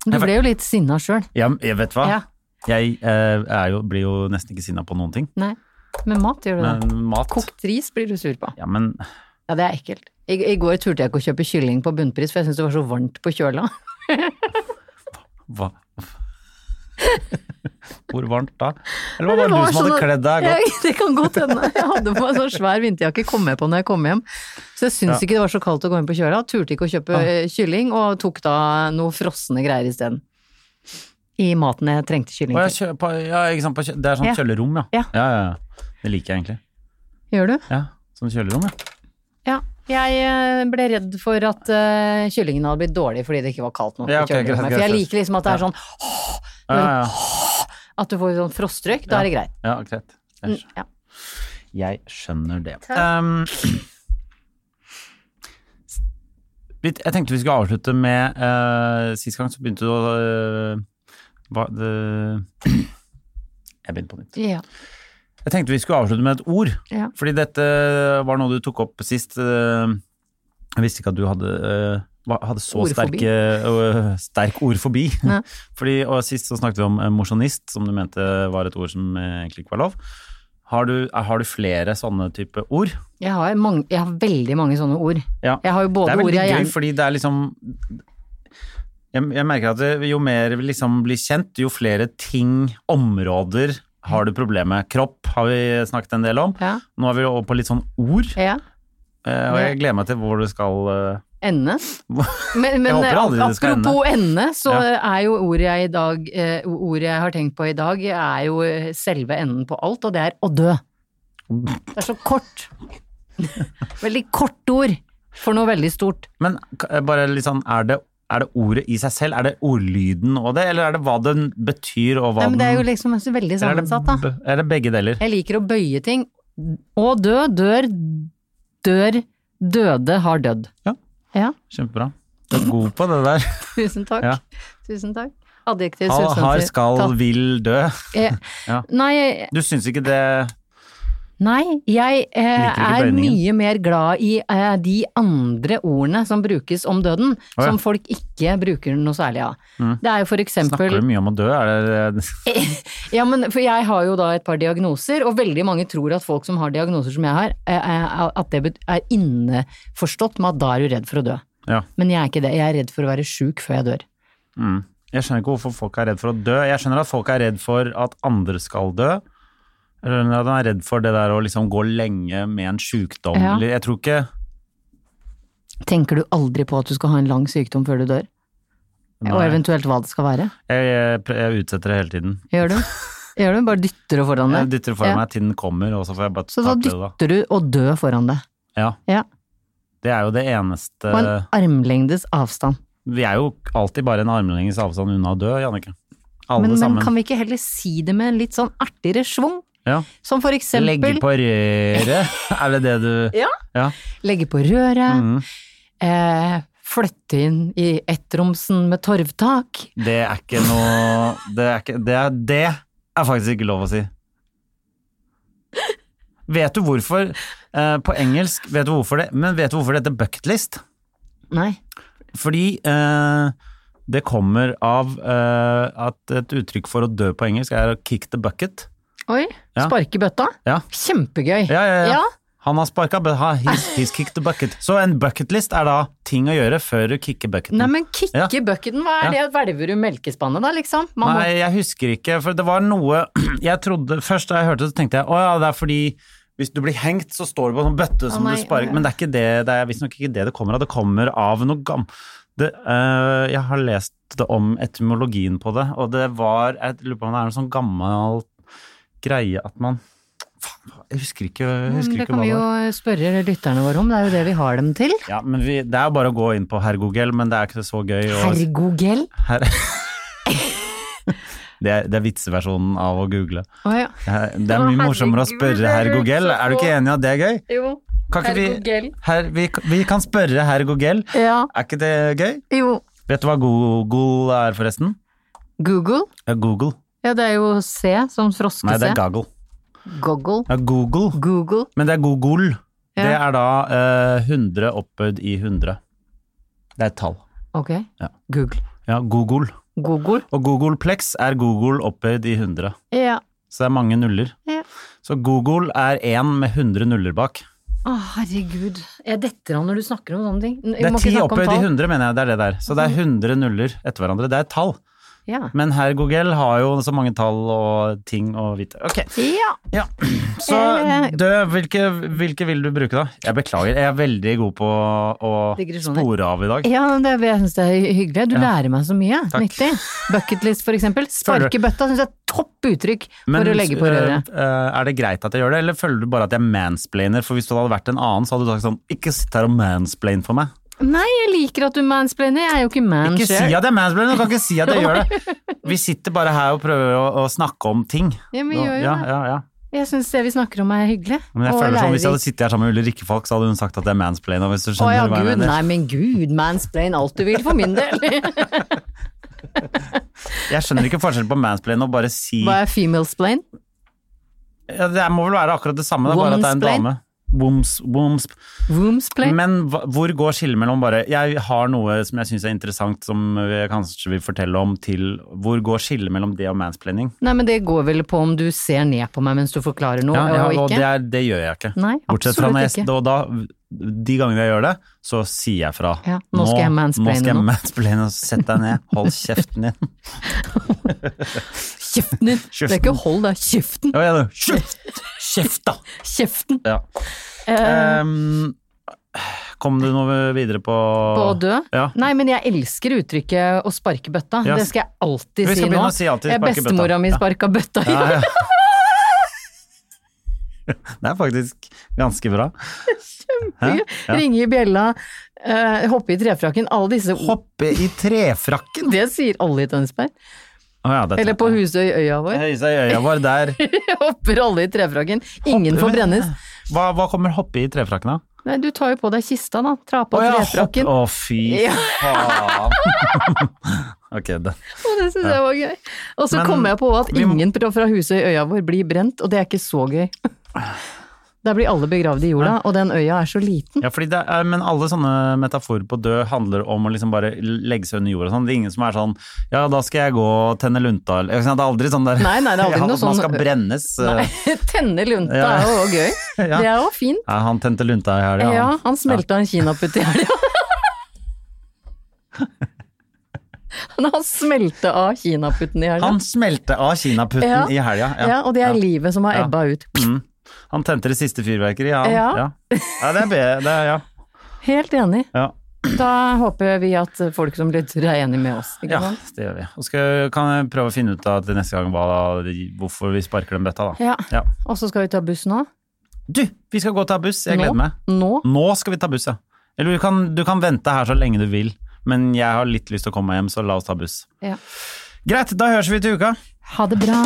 S2: Du
S1: Jeg-
S2: ble jo litt sinna sjøl.
S1: Jeg, jeg vet hva.
S2: Ja.
S1: Jeg eh, er jo, blir jo nesten ikke sinna på noen ting.
S2: Nei. Med mat gjør du det.
S1: Men mat
S2: Kokt ris blir du sur på.
S1: Ja, men
S2: Ja, det er ekkelt. I, I går turte jeg ikke å kjøpe kylling på bunnpris, for jeg syntes det var så varmt på kjøla.
S1: hva Hvor varmt da? Eller var det bare du som hadde
S2: sånn-
S1: kledd deg godt?
S2: Ja, det kan godt hende. Jeg hadde på meg sånn svær vinterjakke, kom jeg på når jeg kom hjem. Så jeg syntes ikke det var så kaldt å gå inn på kjøla. Turte ikke å kjøpe eh, kylling, og tok da noe frosne greier isteden. I maten jeg trengte kylling
S1: Å, jeg
S2: til.
S1: kjø, på, ja, ikke sant, på, kjø- det er sånn
S2: Ja.
S1: kjølerom, ja.
S2: Ja.
S1: Ja, ja, ja. Det liker jeg egentlig.
S2: Gjør du?
S1: Ja, sånn kjølerom, ja.
S2: Ja. Jeg eh, ble redd for at eh, kyllingen hadde blitt dårlig fordi det ikke var kaldt nok.
S1: Ja, ok, greit,
S2: på kjølerommet.
S1: greit,
S2: For jeg
S1: greit.
S2: liker liksom at det er sånn
S1: Ja, ja, ja.
S2: At du får sånn frostrøyk, da er det greit. Mm,
S1: ja greit. Jeg skjø-
S2: Ja.
S1: Jeg skjønner det. Um, vi- jeg tenkte vi skulle avslutte med eh, Sist gang så begynte du å eh, hva, det, Jeg begynte på nytt.
S2: Ja.
S1: Jeg tenkte vi skulle avslutte med et ord.
S2: Ja.
S1: Fordi dette var noe du tok opp sist. eh, Jeg visste ikke at du hadde, eh, hva- hadde så
S2: Ordfobi.
S1: sterk, eh, sterk ordfobi.
S2: Ja.
S1: Fordi, og sist så snakket vi om eh, mosjonist, som du mente var et ord som eh, egentlig ikke var lov. Har du, er- har du flere sånne type ord?
S2: Jeg har, mange, jeg har veldig mange sånne ord.
S1: Ja.
S2: Jeg har jo
S1: Det
S2: både
S1: er
S2: ord
S1: veldig
S2: jeg
S1: gøy,
S2: gjerne
S1: fordi det er liksom Jeg, jeg merker at det, jo mer vi liksom blir kjent, jo flere ting, områder, har du problemer med. Kropp har vi snakket en del om.
S2: Ja.
S1: Nå er vi over på litt sånn ord,
S2: Ja.
S1: eh, og jeg gleder meg til hvor du skal eh,
S2: Ende.
S1: hvor-
S2: Men, men
S1: håper aldri det skal
S2: apropos ende, så
S1: Ja.
S2: er jo ordet jeg, i dag, eh, ordet jeg har tenkt på i dag, er jo eh, selve enden på alt, og det er å dø. Det er så kort. Veldig kort ord for noe veldig stort.
S1: Men k- eh, bare litt sånn, er det, er det ordet i seg selv? Er det ordlyden og det, eller er det hva den betyr og hva
S2: Nei, men det er jo
S1: den
S2: liksom så veldig
S1: eller er det
S2: sammensatt, da.
S1: b- Er det begge deler?
S2: Jeg liker å bøye ting. Å dø, dør, dør, døde har dødd.
S1: Ja.
S2: Ja,
S1: Kjempebra. Du er god på det der.
S2: tusen takk.
S1: Ja.
S2: Tusen takk. Adjektiv,
S1: Ha, har, skal,
S2: substantiv,
S1: vil, dø.
S2: tatt.
S1: Ja.
S2: Eh, Nei,
S1: Du syns ikke det
S2: Nei, jeg eh,
S1: Liker ikke
S2: er
S1: bøyningen.
S2: mye mer glad i eh, de andre ordene som brukes om døden,
S1: ja. Mm.
S2: som folk ikke bruker noe særlig av. Det er jo for
S1: Snakker
S2: eksempel
S1: du mye om å dø? Er det
S2: ja, men, For jeg har jo da et par diagnoser, og veldig mange tror at folk som har diagnoser som jeg har, eh, eh, at det bet- er innforstått med at da er du redd for å dø.
S1: Ja.
S2: Men jeg er ikke det. Jeg er redd for å være sjuk før jeg dør.
S1: Mm. Jeg skjønner ikke hvorfor folk er redd for å dø. Jeg skjønner at folk er redd for at andre skal dø. Eller at de er redd for det der å liksom gå lenge med en sjukdom.
S2: Ja.
S1: Eller Jeg tror ikke
S2: Tenker du aldri på at du skal ha en lang sykdom før du dør? Og
S1: Nei.
S2: eventuelt hva det skal være?
S1: Jeg, jeg, pr- jeg utsetter det hele tiden.
S2: Gjør du? Gjør du? Bare dytter det foran deg?
S1: Jeg dytter det foran
S2: Ja.
S1: meg til den kommer, og så får jeg bare
S2: Så da
S1: takle det da.
S2: dytter du og dø foran deg.
S1: Ja,
S2: Ja.
S1: det er jo det eneste
S2: På en armlengdes avstand.
S1: Vi er jo alltid bare en armlengdes avstand unna å dø, Jannicke. Alle
S2: Men, men
S1: sammen.
S2: kan vi ikke heller si det med en litt sånn artigere schwung?
S1: Ja.
S2: Som for eksempel
S1: Legge på røret, er det det du
S2: Ja.
S1: ja.
S2: legge på røret,
S1: Mhm.
S2: eh, flytte inn i ettromsen med torvtak.
S1: Det er ikke noe Det er, ikke, det er, det er faktisk ikke lov å si. Vet du hvorfor eh, På engelsk, vet du hvorfor det Men vet du hvorfor det heter bucketlist?
S2: Nei.
S1: Fordi eh, det kommer av eh, at et uttrykk for å dø på engelsk er å kick the bucket.
S2: Oi.
S1: Ja.
S2: Sparke i bøtta.
S1: Ja.
S2: Kjempegøy.
S1: Ja, ja, ja.
S2: Ja.
S1: Han har sparka, but ha- he's, he's kicked the bucket. Så en bucketlist er da ting å gjøre før du kicker bucketen.
S2: Nei, men kikke
S1: Ja.
S2: bucketen, hva er det? Hvelver du melkespannet da, liksom? Man må-
S1: Nei, jeg husker ikke, for det var noe jeg trodde Først da jeg hørte det, så tenkte jeg å ja, det er fordi hvis du blir hengt, så står du på en sånn bøtte som
S2: nei,
S1: du sparer
S2: å ja.
S1: Men det er ikke det, det er visstnok ikke det det kommer av. Det kommer av noe gam... Det, øh, jeg har lest det om etymologien på det, og det var Jeg lurer på om det er en sånn gammel greie at man Faen, jeg husker ikke, jeg
S2: Men
S1: husker
S2: Mm, det
S1: ikke
S2: kan
S1: hva
S2: vi
S1: det
S2: jo
S1: var.
S2: spørre lytterne våre om, det er jo det vi har dem til.
S1: Ja, men vi, det er jo bare å gå inn på Hergogel, men det er ikke så gøy. å-
S2: Hergogel.
S1: Her. Det er, det er vitseversjonen av å google.
S2: Å ja.
S1: Eh, Det er mye
S2: Å,
S1: morsommere å
S2: herregud,
S1: spørre
S2: det
S1: herr
S2: høres
S1: Gogel.
S2: så
S1: Er du ikke enig i at det er gøy?
S2: Jo.
S1: Kan ikke vi, herr- vi, vi kan spørre herr Gogel.
S2: Ja.
S1: Er ikke det gøy?
S2: Jo.
S1: Vet du hva Google er, forresten?
S2: Google.
S1: Ja, Google.
S2: Ja, det er jo C som froske-C.
S1: Nei, det er gaggle.
S2: Goggle.
S1: Ja, Google.
S2: Google.
S1: Men det er Google.
S2: Ja.
S1: Det er da eh, 100 opphøyd i 100. Det er et tall.
S2: Ok.
S1: Ja.
S2: Google.
S1: Ja, Google.
S2: Google.
S1: Og Googleplex er Google opphøyd i 100.
S2: Ja.
S1: Så det er mange nuller.
S2: Ja.
S1: Så Google er én med 100 nuller bak.
S2: Å, herregud. Jeg detter av når du snakker om sånne ting. N- vi
S1: Det er
S2: må ikke
S1: ti
S2: snakke om
S1: opphøyd i
S2: tall.
S1: 100, mener jeg. Det er det der. Så det er 100 nuller etter hverandre. Det er et tall.
S2: Ja.
S1: Men herr Gogel har jo så mange tall og ting å vite. Ok,
S2: ja.
S1: ja. Så
S2: Eh.
S1: dø, hvilke, hvilke vil du bruke da? Jeg beklager, jeg er veldig god på å
S2: Digresjoner.
S1: spore av i dag.
S2: Ja, men det, jeg synes det er hy- hyggelig. Du lærer meg så mye.
S1: Takk.
S2: Nyttig. Bucketlist, for eksempel.
S1: Føler-
S2: Sparke bøtta syns jeg er topp uttrykk
S1: Men,
S2: for å legge på
S1: eh,
S2: røret.
S1: eh, Er det greit at jeg gjør det, eller føler du bare at jeg mansplainer? For hvis du hadde vært en annen, så hadde du sagt sånn, ikke sitt her og mansplain for meg.
S2: Nei, jeg liker at du mansplainer. Jeg er jo ikke man
S1: Ikke si
S2: sjøl.
S1: at jeg mansplainer, du kan ikke si at jeg gjør det. Vi sitter bare her og prøver å, å snakke om ting.
S2: Ja, men
S1: Nå-
S2: gjør jo
S1: ja,
S2: det.
S1: ja, ja.
S2: Jeg syns det vi snakker om er hyggelig.
S1: Men jeg
S2: og
S1: føler sånn, Hvis jeg
S2: lærerikt.
S1: hadde sittet her sammen med Ulrikke Falk, så hadde hun sagt at jeg mansplainer. Hvis du
S2: Å
S1: skjønner
S2: ja,
S1: hva jeg
S2: gud,
S1: mener.
S2: nei, men gud, mansplain alt du vil for min del.
S1: Jeg skjønner ikke forskjellen på mansplain og bare si
S2: Hva er femalesplain?
S1: ja, Det må vel være akkurat det samme, det er bare at det er en
S2: Womansplain?
S1: dame. Woms, woms.
S2: Woomsplain?
S1: Men hva- hvor går skillet mellom bare Jeg har noe som jeg syns er interessant, som jeg kanskje vil fortelle om, til hvor går skillet mellom det og mansplaining?
S2: Nei, men det går vel på om du ser ned på meg mens du forklarer noe,
S1: Ja, ja,
S2: og
S1: og
S2: ikke?
S1: det, er, det gjør jeg ikke.
S2: Nei,
S1: Bortsett fra
S2: absolutt
S1: når jeg,
S2: ikke.
S1: og da, de gangene jeg gjør det, så sier jeg fra.
S2: Ja, nå skal jeg mansplaine
S1: nå skal jeg
S2: nå.
S1: mansplaine, og sett deg ned, hold kjeften din.
S2: Kjeften din! Det er ikke hold, det er kjeften!
S1: Ja, ja, du. Kjeft! Kjeft, da!
S2: Kjeften! Eh,
S1: Ja. Ehm, kom du noe videre på
S2: På å dø?
S1: Ja.
S2: Nei, men jeg elsker uttrykket å sparke bøtta.
S1: Ja.
S2: Det skal jeg
S1: Vi
S2: alltid
S1: skal
S2: si nå.
S1: begynne å si alltid
S2: Eh,
S1: sparke bøtta.
S2: Bestemora mi
S1: Ja.
S2: sparka bøtta i
S1: Ja, ja. Det er faktisk ganske bra.
S2: dag.
S1: Ja.
S2: Ringe i bjella, eh, hoppe i trefrakken, alle disse
S1: Hoppe i trefrakken!
S2: Det sier alle i Tønsberg.
S1: Å ja, dette-
S2: Eller på Husøy øya vår.
S1: Høysa i øya var der.
S2: Hopper alle i trefrakken. Ingen får brennes.
S1: Hva, hva kommer hoppe i trefrakken av?
S2: Nei, du tar jo på deg kista, da. Tra på
S1: Å ja, hopp-
S2: trefrakken.
S1: Å, fy
S2: Ja.
S1: faen! ok, det.
S2: Og det syns jeg var gøy. Og så
S1: Men
S2: kom jeg på at
S1: vi må-
S2: ingen fra fra huset i øya vår blir brent, og det er ikke så gøy. Der blir alle begravd i jorda, og den øya er så liten.
S1: Ja, fordi det er, men alle sånne metaforer på død handler om å liksom bare legge seg under jorda. og Sånn. Det er ingen som er sånn Ja, da skal jeg gå og tenne lunta. eller- ikke sant? Det er aldri sånn der
S2: Nei, nei, det er aldri
S1: ja,
S2: noe
S1: at Man
S2: sånn-
S1: skal brennes.
S2: Nei,
S1: eh.
S2: Tenne lunta
S1: Ja.
S2: er jo også gøy.
S1: Ja.
S2: Det er jo fint.
S1: Nei, han tente lunta i helga.
S2: Ja, han smelta en kinaputt i helga. Han smelta av kinaputten i
S1: Ja.
S2: helga.
S1: Han smelte av kinaputten
S2: Ja.
S1: i helga. Ja.
S2: Ja, og det
S1: ja.
S2: er livet som har
S1: Ja.
S2: ebba ut.
S1: Han tente det siste fyrverkeriet, han.
S2: Ja.
S1: Ja. ja, det er be- det er, ja.
S2: Helt enig.
S1: ja.
S2: Da håper vi at folk som lytter er enig med oss. Ikke
S1: Ja,
S2: sant?
S1: det gjør vi. Og skal, kan jeg prøve å finne ut av til neste gang hva, hvorfor vi sparker den bøtta, da.
S2: Ja.
S1: Ja.
S2: Og så skal vi ta buss nå.
S1: Du, vi skal gå og ta buss. Jeg
S2: Nå?
S1: gleder meg.
S2: Nå.
S1: Nå skal vi ta buss, ja. Eller du kan, du kan vente her så lenge du vil. Men jeg har litt lyst til å komme meg hjem, så la oss ta buss.
S2: Ja.
S1: Greit, da høres vi til uka.
S2: Ha det bra.